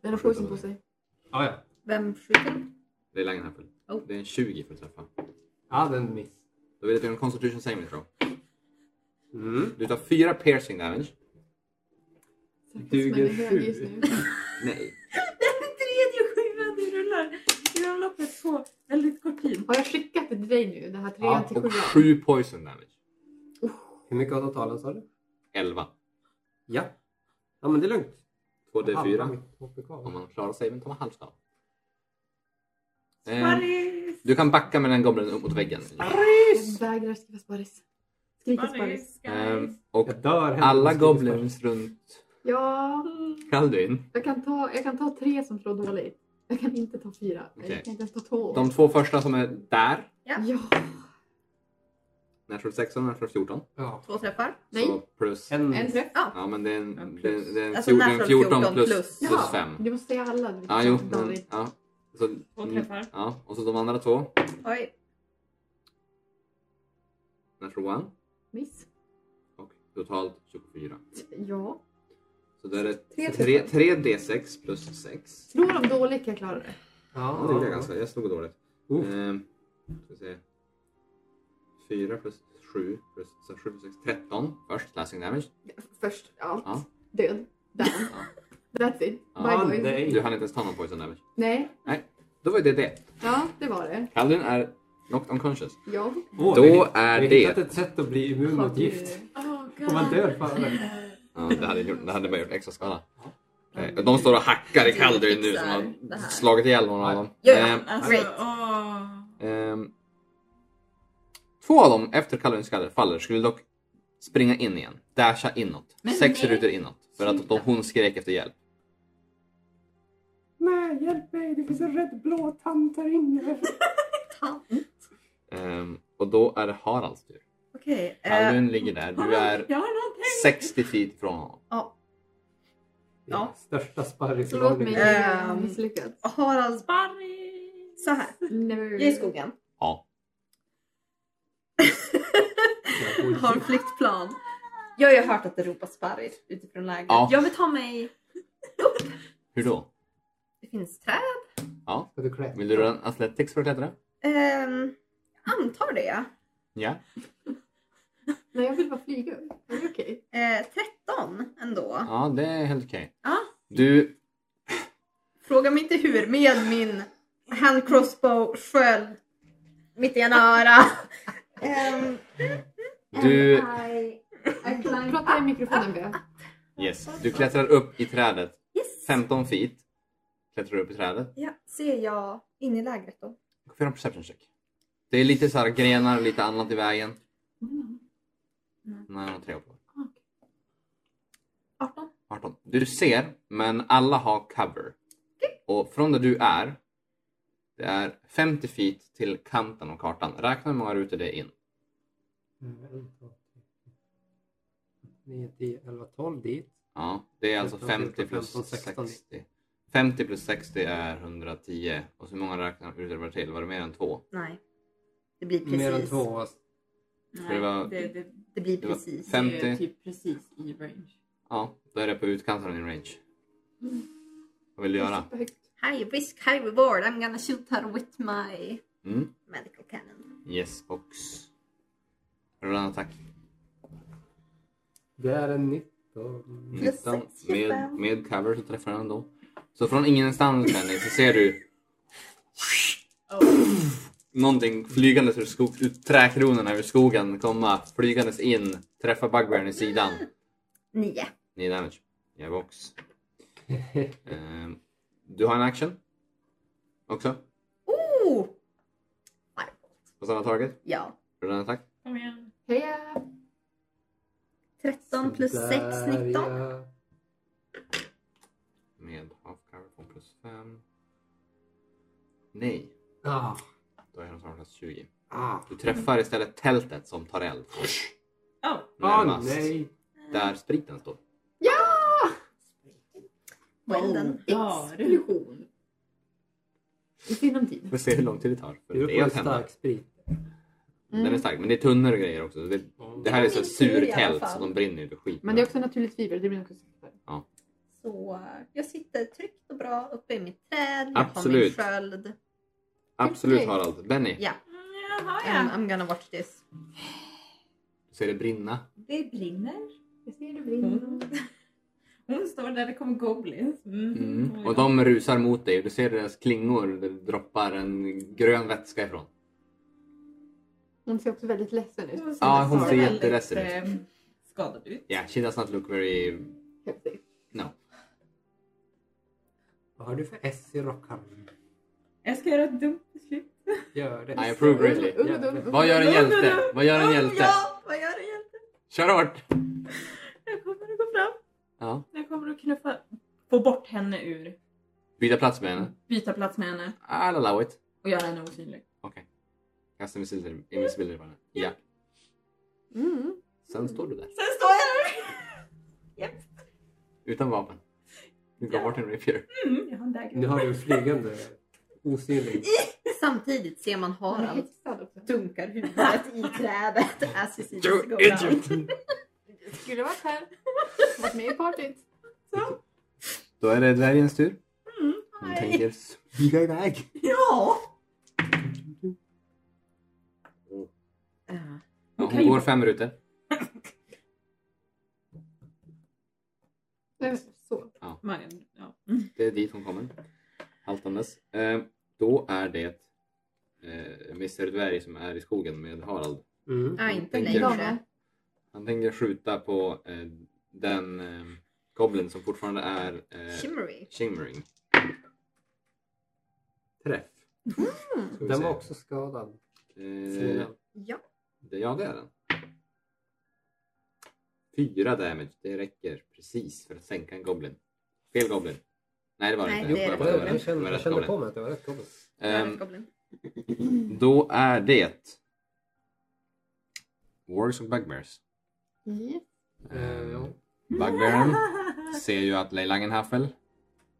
Speaker 1: Den har poison på sig.
Speaker 3: Ja, ja.
Speaker 2: Vem skjuter?
Speaker 4: Det är Langenhampel.
Speaker 2: Oh.
Speaker 4: Det är en 20 för att träffa.
Speaker 3: ja, den miss.
Speaker 4: Då vill jag att du gör en constitution saving throw.
Speaker 3: Mm.
Speaker 4: Du tar 4 piercing damage.
Speaker 3: Duger
Speaker 1: Säkerhetsmännen är hög just
Speaker 3: sju.
Speaker 1: nu.
Speaker 4: Nej.
Speaker 7: Den tredje skivan du rullar inom loppet på väldigt kort tid.
Speaker 1: Har
Speaker 4: Eh,
Speaker 1: jag skickat det till dig nu? Det här trean
Speaker 3: Ja,
Speaker 1: till
Speaker 4: Och
Speaker 1: sjuan?
Speaker 4: 7 poison damage.
Speaker 3: Hur mycket av totalen sa du?
Speaker 4: 11.
Speaker 3: Ja. Ja, men det är lugnt.
Speaker 4: 2D4. Om
Speaker 3: Halva.
Speaker 4: man klarar saven tar man halv skada. Eh,
Speaker 7: Sparris!
Speaker 4: du kan backa med den goblinen upp mot väggen.
Speaker 1: Jag vägrar skriva sparris. Skrika sparris.
Speaker 7: Sparris!
Speaker 4: Eh,
Speaker 7: guys.
Speaker 4: och
Speaker 3: Jag dör. hemskt.
Speaker 4: alla goblins runt
Speaker 1: Ja,
Speaker 4: Kaldin
Speaker 1: jag kan, ta, jag kan ta tre som slår dåligt. Jag kan inte ta fyra.
Speaker 4: Okej.
Speaker 1: Jag kan inte ens ta två.
Speaker 4: De två första som är där,
Speaker 1: Ja.
Speaker 4: Natural 16 och Natural 14.
Speaker 3: Ja.
Speaker 2: Två träffar.
Speaker 4: Så
Speaker 1: Nej.
Speaker 4: plus...
Speaker 3: En,
Speaker 1: En träff.
Speaker 4: Ja men det är en,
Speaker 5: En
Speaker 4: det
Speaker 5: plus.
Speaker 4: är, det är en
Speaker 2: Alltså
Speaker 4: 14,
Speaker 2: natural
Speaker 4: 14
Speaker 2: 14
Speaker 4: plus,
Speaker 2: plus.
Speaker 4: plus 5.
Speaker 1: Du måste säga alla. Du
Speaker 4: Ja,
Speaker 1: kan
Speaker 4: jo. Mm.
Speaker 1: inte ta
Speaker 4: Men,
Speaker 1: dåligt.
Speaker 4: ja. Så, mm,
Speaker 5: Två träffar.
Speaker 4: Ja, och så de andra två.
Speaker 2: Oj.
Speaker 4: Natural 1
Speaker 1: Miss.
Speaker 4: och totalt 24.
Speaker 1: Ja.
Speaker 4: Så då är det
Speaker 1: Tre
Speaker 4: 3, 3D6 plus 6.
Speaker 1: Slår de dåligt kan jag klara det.
Speaker 4: Ja, det gjorde jag ganska. Jag slog dåligt.
Speaker 3: Oh.
Speaker 4: Ehm, ska vi se. 4 plus 7 plus 7 plus 6. 13 först, slashing damage.
Speaker 1: Först allt.
Speaker 4: Ja.
Speaker 1: Död. Down. That's it.
Speaker 4: Ja,
Speaker 1: Bye boys.
Speaker 3: nej.
Speaker 4: Du hann inte ens ta någon poison damage.
Speaker 1: Nej.
Speaker 4: Då var ju det det.
Speaker 1: Ja, det var det.
Speaker 4: Kaldin är knocked unconscious.
Speaker 1: Ja.
Speaker 3: Åh,
Speaker 4: Då
Speaker 3: vi har-
Speaker 4: är
Speaker 3: Vi har
Speaker 4: det-
Speaker 3: hittat ett sätt att bli immun
Speaker 1: Har
Speaker 3: mot
Speaker 1: du-
Speaker 3: gift.
Speaker 7: Oh,
Speaker 3: Om man
Speaker 7: God.
Speaker 3: dör före.
Speaker 4: Ja, det hade, gjort, det hade bara gjort extra skada. Eh, De står och hackar i Kaldrin nu som
Speaker 2: Det
Speaker 4: har
Speaker 2: här.
Speaker 4: slagit ihjäl någon av dem.
Speaker 2: Ja,
Speaker 4: Eh,
Speaker 7: Alltså,
Speaker 2: Great.
Speaker 7: åh.
Speaker 4: ehm, Två av dem efter Kaldrins skalle faller skulle dock springa in igen. Dasha inåt.
Speaker 5: Men
Speaker 4: Sex
Speaker 5: nej.
Speaker 4: rutor inåt. För att de, hon skrek efter hjälp.
Speaker 3: Nej, hjälp mig! Det finns en rädd blå tant här inne.
Speaker 2: Mm.
Speaker 4: Ehm, och då är det Haralds tur.
Speaker 2: Okej. eh,
Speaker 4: Kaldrin ligger där. Du är
Speaker 7: Jag har någonting.
Speaker 4: 60 feet ifrån honom.
Speaker 2: Ja.
Speaker 3: Största
Speaker 1: Förlåt mig.
Speaker 3: sparrisvarningen.
Speaker 1: Jag har
Speaker 2: Ehm.
Speaker 1: misslyckats.
Speaker 2: Harald,
Speaker 7: Sparris!
Speaker 2: så här. Jag är i
Speaker 1: Nerd.
Speaker 2: skogen.
Speaker 4: Ja.
Speaker 2: Har en flyktplan. Jag har ju hört att det ropas sparris utifrån lägret.
Speaker 4: Ja.
Speaker 2: Jag vill ta mig...
Speaker 4: Hur då?
Speaker 2: Det finns träd.
Speaker 3: Ska du klä?
Speaker 4: Vill du röra en athletics för att klättra?
Speaker 2: Ehm, jag antar det.
Speaker 4: Ja.
Speaker 1: Nej, jag vill bara flyga upp. Är det okej?
Speaker 2: Eh, 13 ändå.
Speaker 4: Ja, det är helt okej.
Speaker 2: Ja.
Speaker 4: Du
Speaker 2: Fråga mig inte hur. Med min hand crossbow, sköld, mitt ena öra. Ehm,
Speaker 4: Du,
Speaker 2: I- I climb-
Speaker 1: Prata i mikrofonen, Bea.
Speaker 4: yes, du klättrar upp i trädet.
Speaker 2: Yes.
Speaker 4: 15 feet. Klättrar upp i trädet.
Speaker 2: Ja, ser jag in i lägret då?
Speaker 4: Du får göra en perception check. Det är lite så här grenar och lite annat i vägen. Nej, jag har tre på.
Speaker 2: 18.
Speaker 4: 18. Du ser, men alla har cover. Och från där du är, det är 50 feet till kanten av kartan. Räkna hur många rutor det är in.
Speaker 3: Mm, en, två, tre, fyra, fem, Nio, tio, elva, tolv dit.
Speaker 4: Ja, det är alltså
Speaker 3: 14,
Speaker 4: 50 plus
Speaker 3: 15, 16.
Speaker 4: 60. 50 plus 60 är 110. Och så hur många räknar utöver till? Var det mer än två?
Speaker 2: Nej. Det blir precis.
Speaker 3: Mer än två.
Speaker 4: För det var-
Speaker 7: det, det,
Speaker 2: Det blir
Speaker 4: Det var
Speaker 2: precis.
Speaker 4: fem-
Speaker 7: det är
Speaker 4: 50.
Speaker 7: typ precis i range.
Speaker 4: Ja, då är det på utkanten av din range. Vad vill du göra?
Speaker 1: Superhögt.
Speaker 2: High risk, high reward. I'm gonna shoot her with my
Speaker 4: Mm.
Speaker 2: medical cannon.
Speaker 4: Yes, box. Rulla en attack.
Speaker 3: Det är en 19.
Speaker 2: Plus
Speaker 4: 19.
Speaker 2: sex,
Speaker 4: Med,
Speaker 2: 25.
Speaker 4: med cover så träffar den ändå. Så från ingenstans Benny, så ser du någonting flygandes ur skog, ut träkronorna ur skogen komma flygandes in, träffa bugbearen i sidan.
Speaker 2: Nio.
Speaker 4: 9 damage. Jag är box. Ehm, du har en action också
Speaker 2: Oh!
Speaker 4: på samma target.
Speaker 2: Ja.
Speaker 4: Rulla en attack.
Speaker 7: Kom igen.
Speaker 1: Heja!
Speaker 2: 13 plus 6, 19.
Speaker 4: Med half cover på plus 5. Nej,
Speaker 3: Ah,
Speaker 4: då är den snarare plus 20.
Speaker 3: ah,
Speaker 4: Du träffar istället tältet som tar eld.
Speaker 7: Oh.
Speaker 3: ah,
Speaker 4: Närmast.
Speaker 3: nej.
Speaker 4: Där spriten står. Oh,
Speaker 2: Elden.
Speaker 7: Explosion.
Speaker 1: I sinom tid.
Speaker 4: Vi får se hur lång tid det tar. För
Speaker 3: Du
Speaker 4: det är
Speaker 3: får en
Speaker 4: att hända.
Speaker 3: stark sprit.
Speaker 4: Den är stark, men det är tunnor och grejer också. Det, det här är så här
Speaker 2: Min tur i alla
Speaker 4: surtält så
Speaker 2: fall.
Speaker 4: de brinner ju. skit.
Speaker 1: Men det är också naturligt fiber, det blir nog också
Speaker 2: Så eh, jag sitter tryggt och bra uppe i mitt träd. Jag
Speaker 4: Absolut.
Speaker 2: har min sköld.
Speaker 4: Absolut Harald. Benny,
Speaker 2: Ja.
Speaker 7: Mm, Jaha
Speaker 2: And
Speaker 7: ja.
Speaker 2: I'm gonna watch this.
Speaker 4: du ser det brinna.
Speaker 7: Det brinner.
Speaker 1: Jag ser det
Speaker 5: Mm.
Speaker 1: brinner.
Speaker 7: Mm. Hon står där, det kommer goblins. Mm.
Speaker 4: Mm. Och de rusar mot dig och du ser deras klingor där det droppar en grön vätska ifrån.
Speaker 1: Hon ser också väldigt ledsen ut.
Speaker 4: Ja, hon
Speaker 7: ser
Speaker 4: ser
Speaker 7: väldigt,
Speaker 4: jätteledsen ut.
Speaker 7: eh, Skadad ut.
Speaker 4: Yeah, she does not look very...
Speaker 1: Häftigt.
Speaker 3: Vad har du för S i rockharmen?
Speaker 7: Jag ska göra ett dumt beslut.
Speaker 3: Gör det.
Speaker 4: I approve greatly. Vad gör en hjälte? Vad gör en hjälte?
Speaker 7: Ja, vad gör jag?
Speaker 4: Kör hårt!
Speaker 7: Jag kommer att gå fram.
Speaker 4: Ja.
Speaker 7: Jag kommer att knuffa, få bort henne ur,
Speaker 4: Byta plats med henne.
Speaker 7: byta plats med henne
Speaker 4: I'll allow it.
Speaker 7: och göra henne osynlig.
Speaker 4: Kasta invisibility invisibility på henne. Ja.
Speaker 1: Mm.
Speaker 4: Sen står du där.
Speaker 7: Sen står jag där!
Speaker 4: Utan vapen. Du går bort en rapier.
Speaker 7: Mm, jag har en dagger.
Speaker 3: Nu har du en flygande osynlig.
Speaker 2: Samtidigt ser man
Speaker 1: Hon är
Speaker 2: Harald
Speaker 1: häxad också.
Speaker 2: dunkar huvudet i trädet as his
Speaker 4: You
Speaker 2: go down.
Speaker 1: Skulle varit här. Varit med i partyt.
Speaker 4: Då är det dvärgens tur. Hon
Speaker 2: Hej.
Speaker 4: tänker smyga iväg.
Speaker 2: Ja!
Speaker 4: Ja, hon går fem minuter.
Speaker 1: Nej, Så.
Speaker 7: Man, ja.
Speaker 4: Det är dit hon kommer. Haltandes. Eh, då är det eh, Mr Dvärg som är i skogen med Harald.
Speaker 3: Mm.
Speaker 2: Ja, inte
Speaker 4: Tänker-
Speaker 2: längre.
Speaker 4: Han tänker skjuta på eh, den eh, goblin som fortfarande är eh,
Speaker 2: Shimmery.
Speaker 4: shimmering. Träff.
Speaker 2: Mm.
Speaker 4: Ska vi
Speaker 3: Den
Speaker 4: se.
Speaker 3: var också skadad.
Speaker 4: Eh,
Speaker 2: Ja.
Speaker 4: det, ja, det är den. Fyra damage, det räcker precis för att sänka en goblin. Fel goblin. Nej, det var
Speaker 2: Nej,
Speaker 4: inte.
Speaker 2: det är
Speaker 4: Jag
Speaker 2: rätt
Speaker 4: var
Speaker 2: goblin.
Speaker 4: rätt-
Speaker 3: Jag
Speaker 4: det var
Speaker 3: kände, jag
Speaker 4: rätt
Speaker 3: kände
Speaker 4: goblin.
Speaker 3: på mig att det var rätt goblin.
Speaker 4: Ehm,
Speaker 2: Goblin.
Speaker 4: Då är det Wargs och Bugbears.
Speaker 1: Yes.
Speaker 3: Eh, ja.
Speaker 4: Bugbearen ser ju att Leilangenhaffel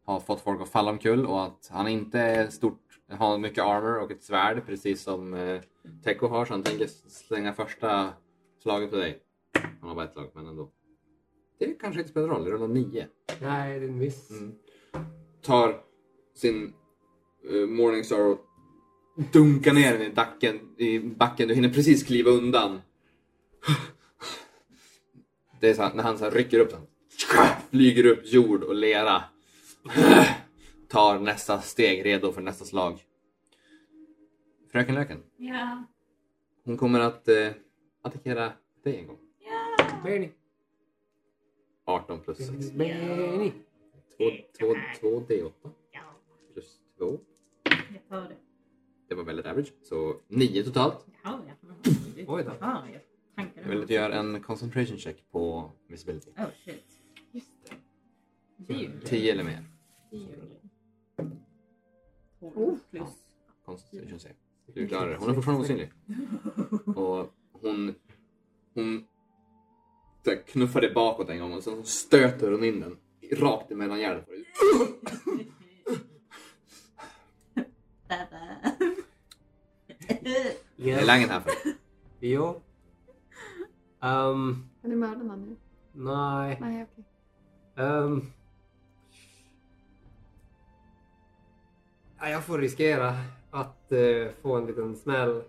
Speaker 4: har fått folk att falla omkull och att han inte är stort, har mycket armor och ett svärd precis som eh, Teko har så han tänker slänga första slaget på dig. Han har bara ett slag men ändå. Det kanske inte spelar roll, det rullar nio.
Speaker 3: Nej, det är en miss.
Speaker 4: Mm. Tar sin uh, Morningstar och dunkar ner den i, dacken, i backen. Du hinner precis kliva undan. Det är så här, när han så här rycker upp den. Flyger upp jord och lera. Tar nästa steg redo för nästa slag. Fröken Löken,
Speaker 7: Ja.
Speaker 4: hon kommer att eh, attackera dig en gång.
Speaker 3: Benny.
Speaker 4: 18 plus 6.
Speaker 3: Benny.
Speaker 4: 2D8
Speaker 2: Ja.
Speaker 4: plus 2.
Speaker 7: Jag tar det.
Speaker 4: Det var väldigt average. Så 9 totalt.
Speaker 7: Jaha, ja.
Speaker 3: Oj då.
Speaker 7: Jaha, jag tankade.
Speaker 4: Jag vill att du gör en concentration check på visibility.
Speaker 7: Oh shit.
Speaker 1: Just det.
Speaker 7: Det är ju
Speaker 4: 10 eller mer.
Speaker 7: tolv plus.
Speaker 4: Concentration check. Du klarar det. Hon är fortfarande osynlig. Och hon... Hon så här, knuffar det bakåt en gång och sen så stöter hon in den rakt emellan hjärnan på dig. Det är länge här för.
Speaker 3: Jo. Ehm,
Speaker 6: Kan du mörda någon nu?
Speaker 3: nej.
Speaker 6: Nej, okej.
Speaker 3: Ehm. Ja, jag får riskera att eh, få en liten smäll. Uh,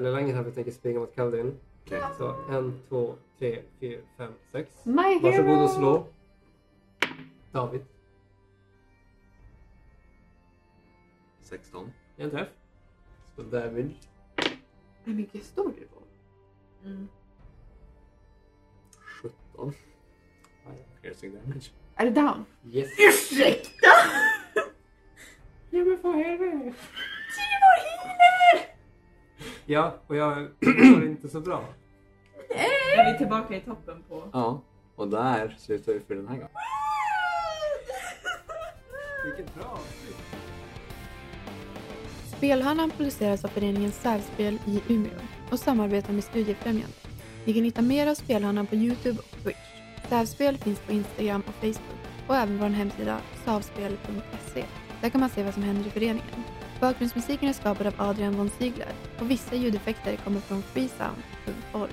Speaker 3: Lelangen här tänker springa mot Kaldin.
Speaker 4: Okej.
Speaker 3: Så en, två, tre, fyra, fem, sex.
Speaker 6: My hero!
Speaker 3: Varsågod och slå. David.
Speaker 4: 16.
Speaker 3: En träff. Så damage.
Speaker 6: Hur mycket står du på?
Speaker 4: 17. Piercing damage.
Speaker 6: Är det down?
Speaker 3: Yes.
Speaker 8: Ursäkta!
Speaker 3: Ja men vad är det? Ja, och jag mår inte så bra.
Speaker 5: Är vi tillbaka i toppen på...
Speaker 4: Ja, och där slutar vi för den här gången.
Speaker 3: Vilket bra
Speaker 1: Spelhörnan produceras av föreningen Särspel i Umeå och samarbetar med Studiefrämjandet. Ni kan hitta mer av Spelhörnan på Youtube och Twitch. Särspel finns på Instagram och Facebook och även vår hemsida savspel.se. Där kan man se vad som händer i föreningen. Bakgrundsmusiken är skapad av Adrian von Ziegler och vissa ljudeffekter kommer från freesound.org.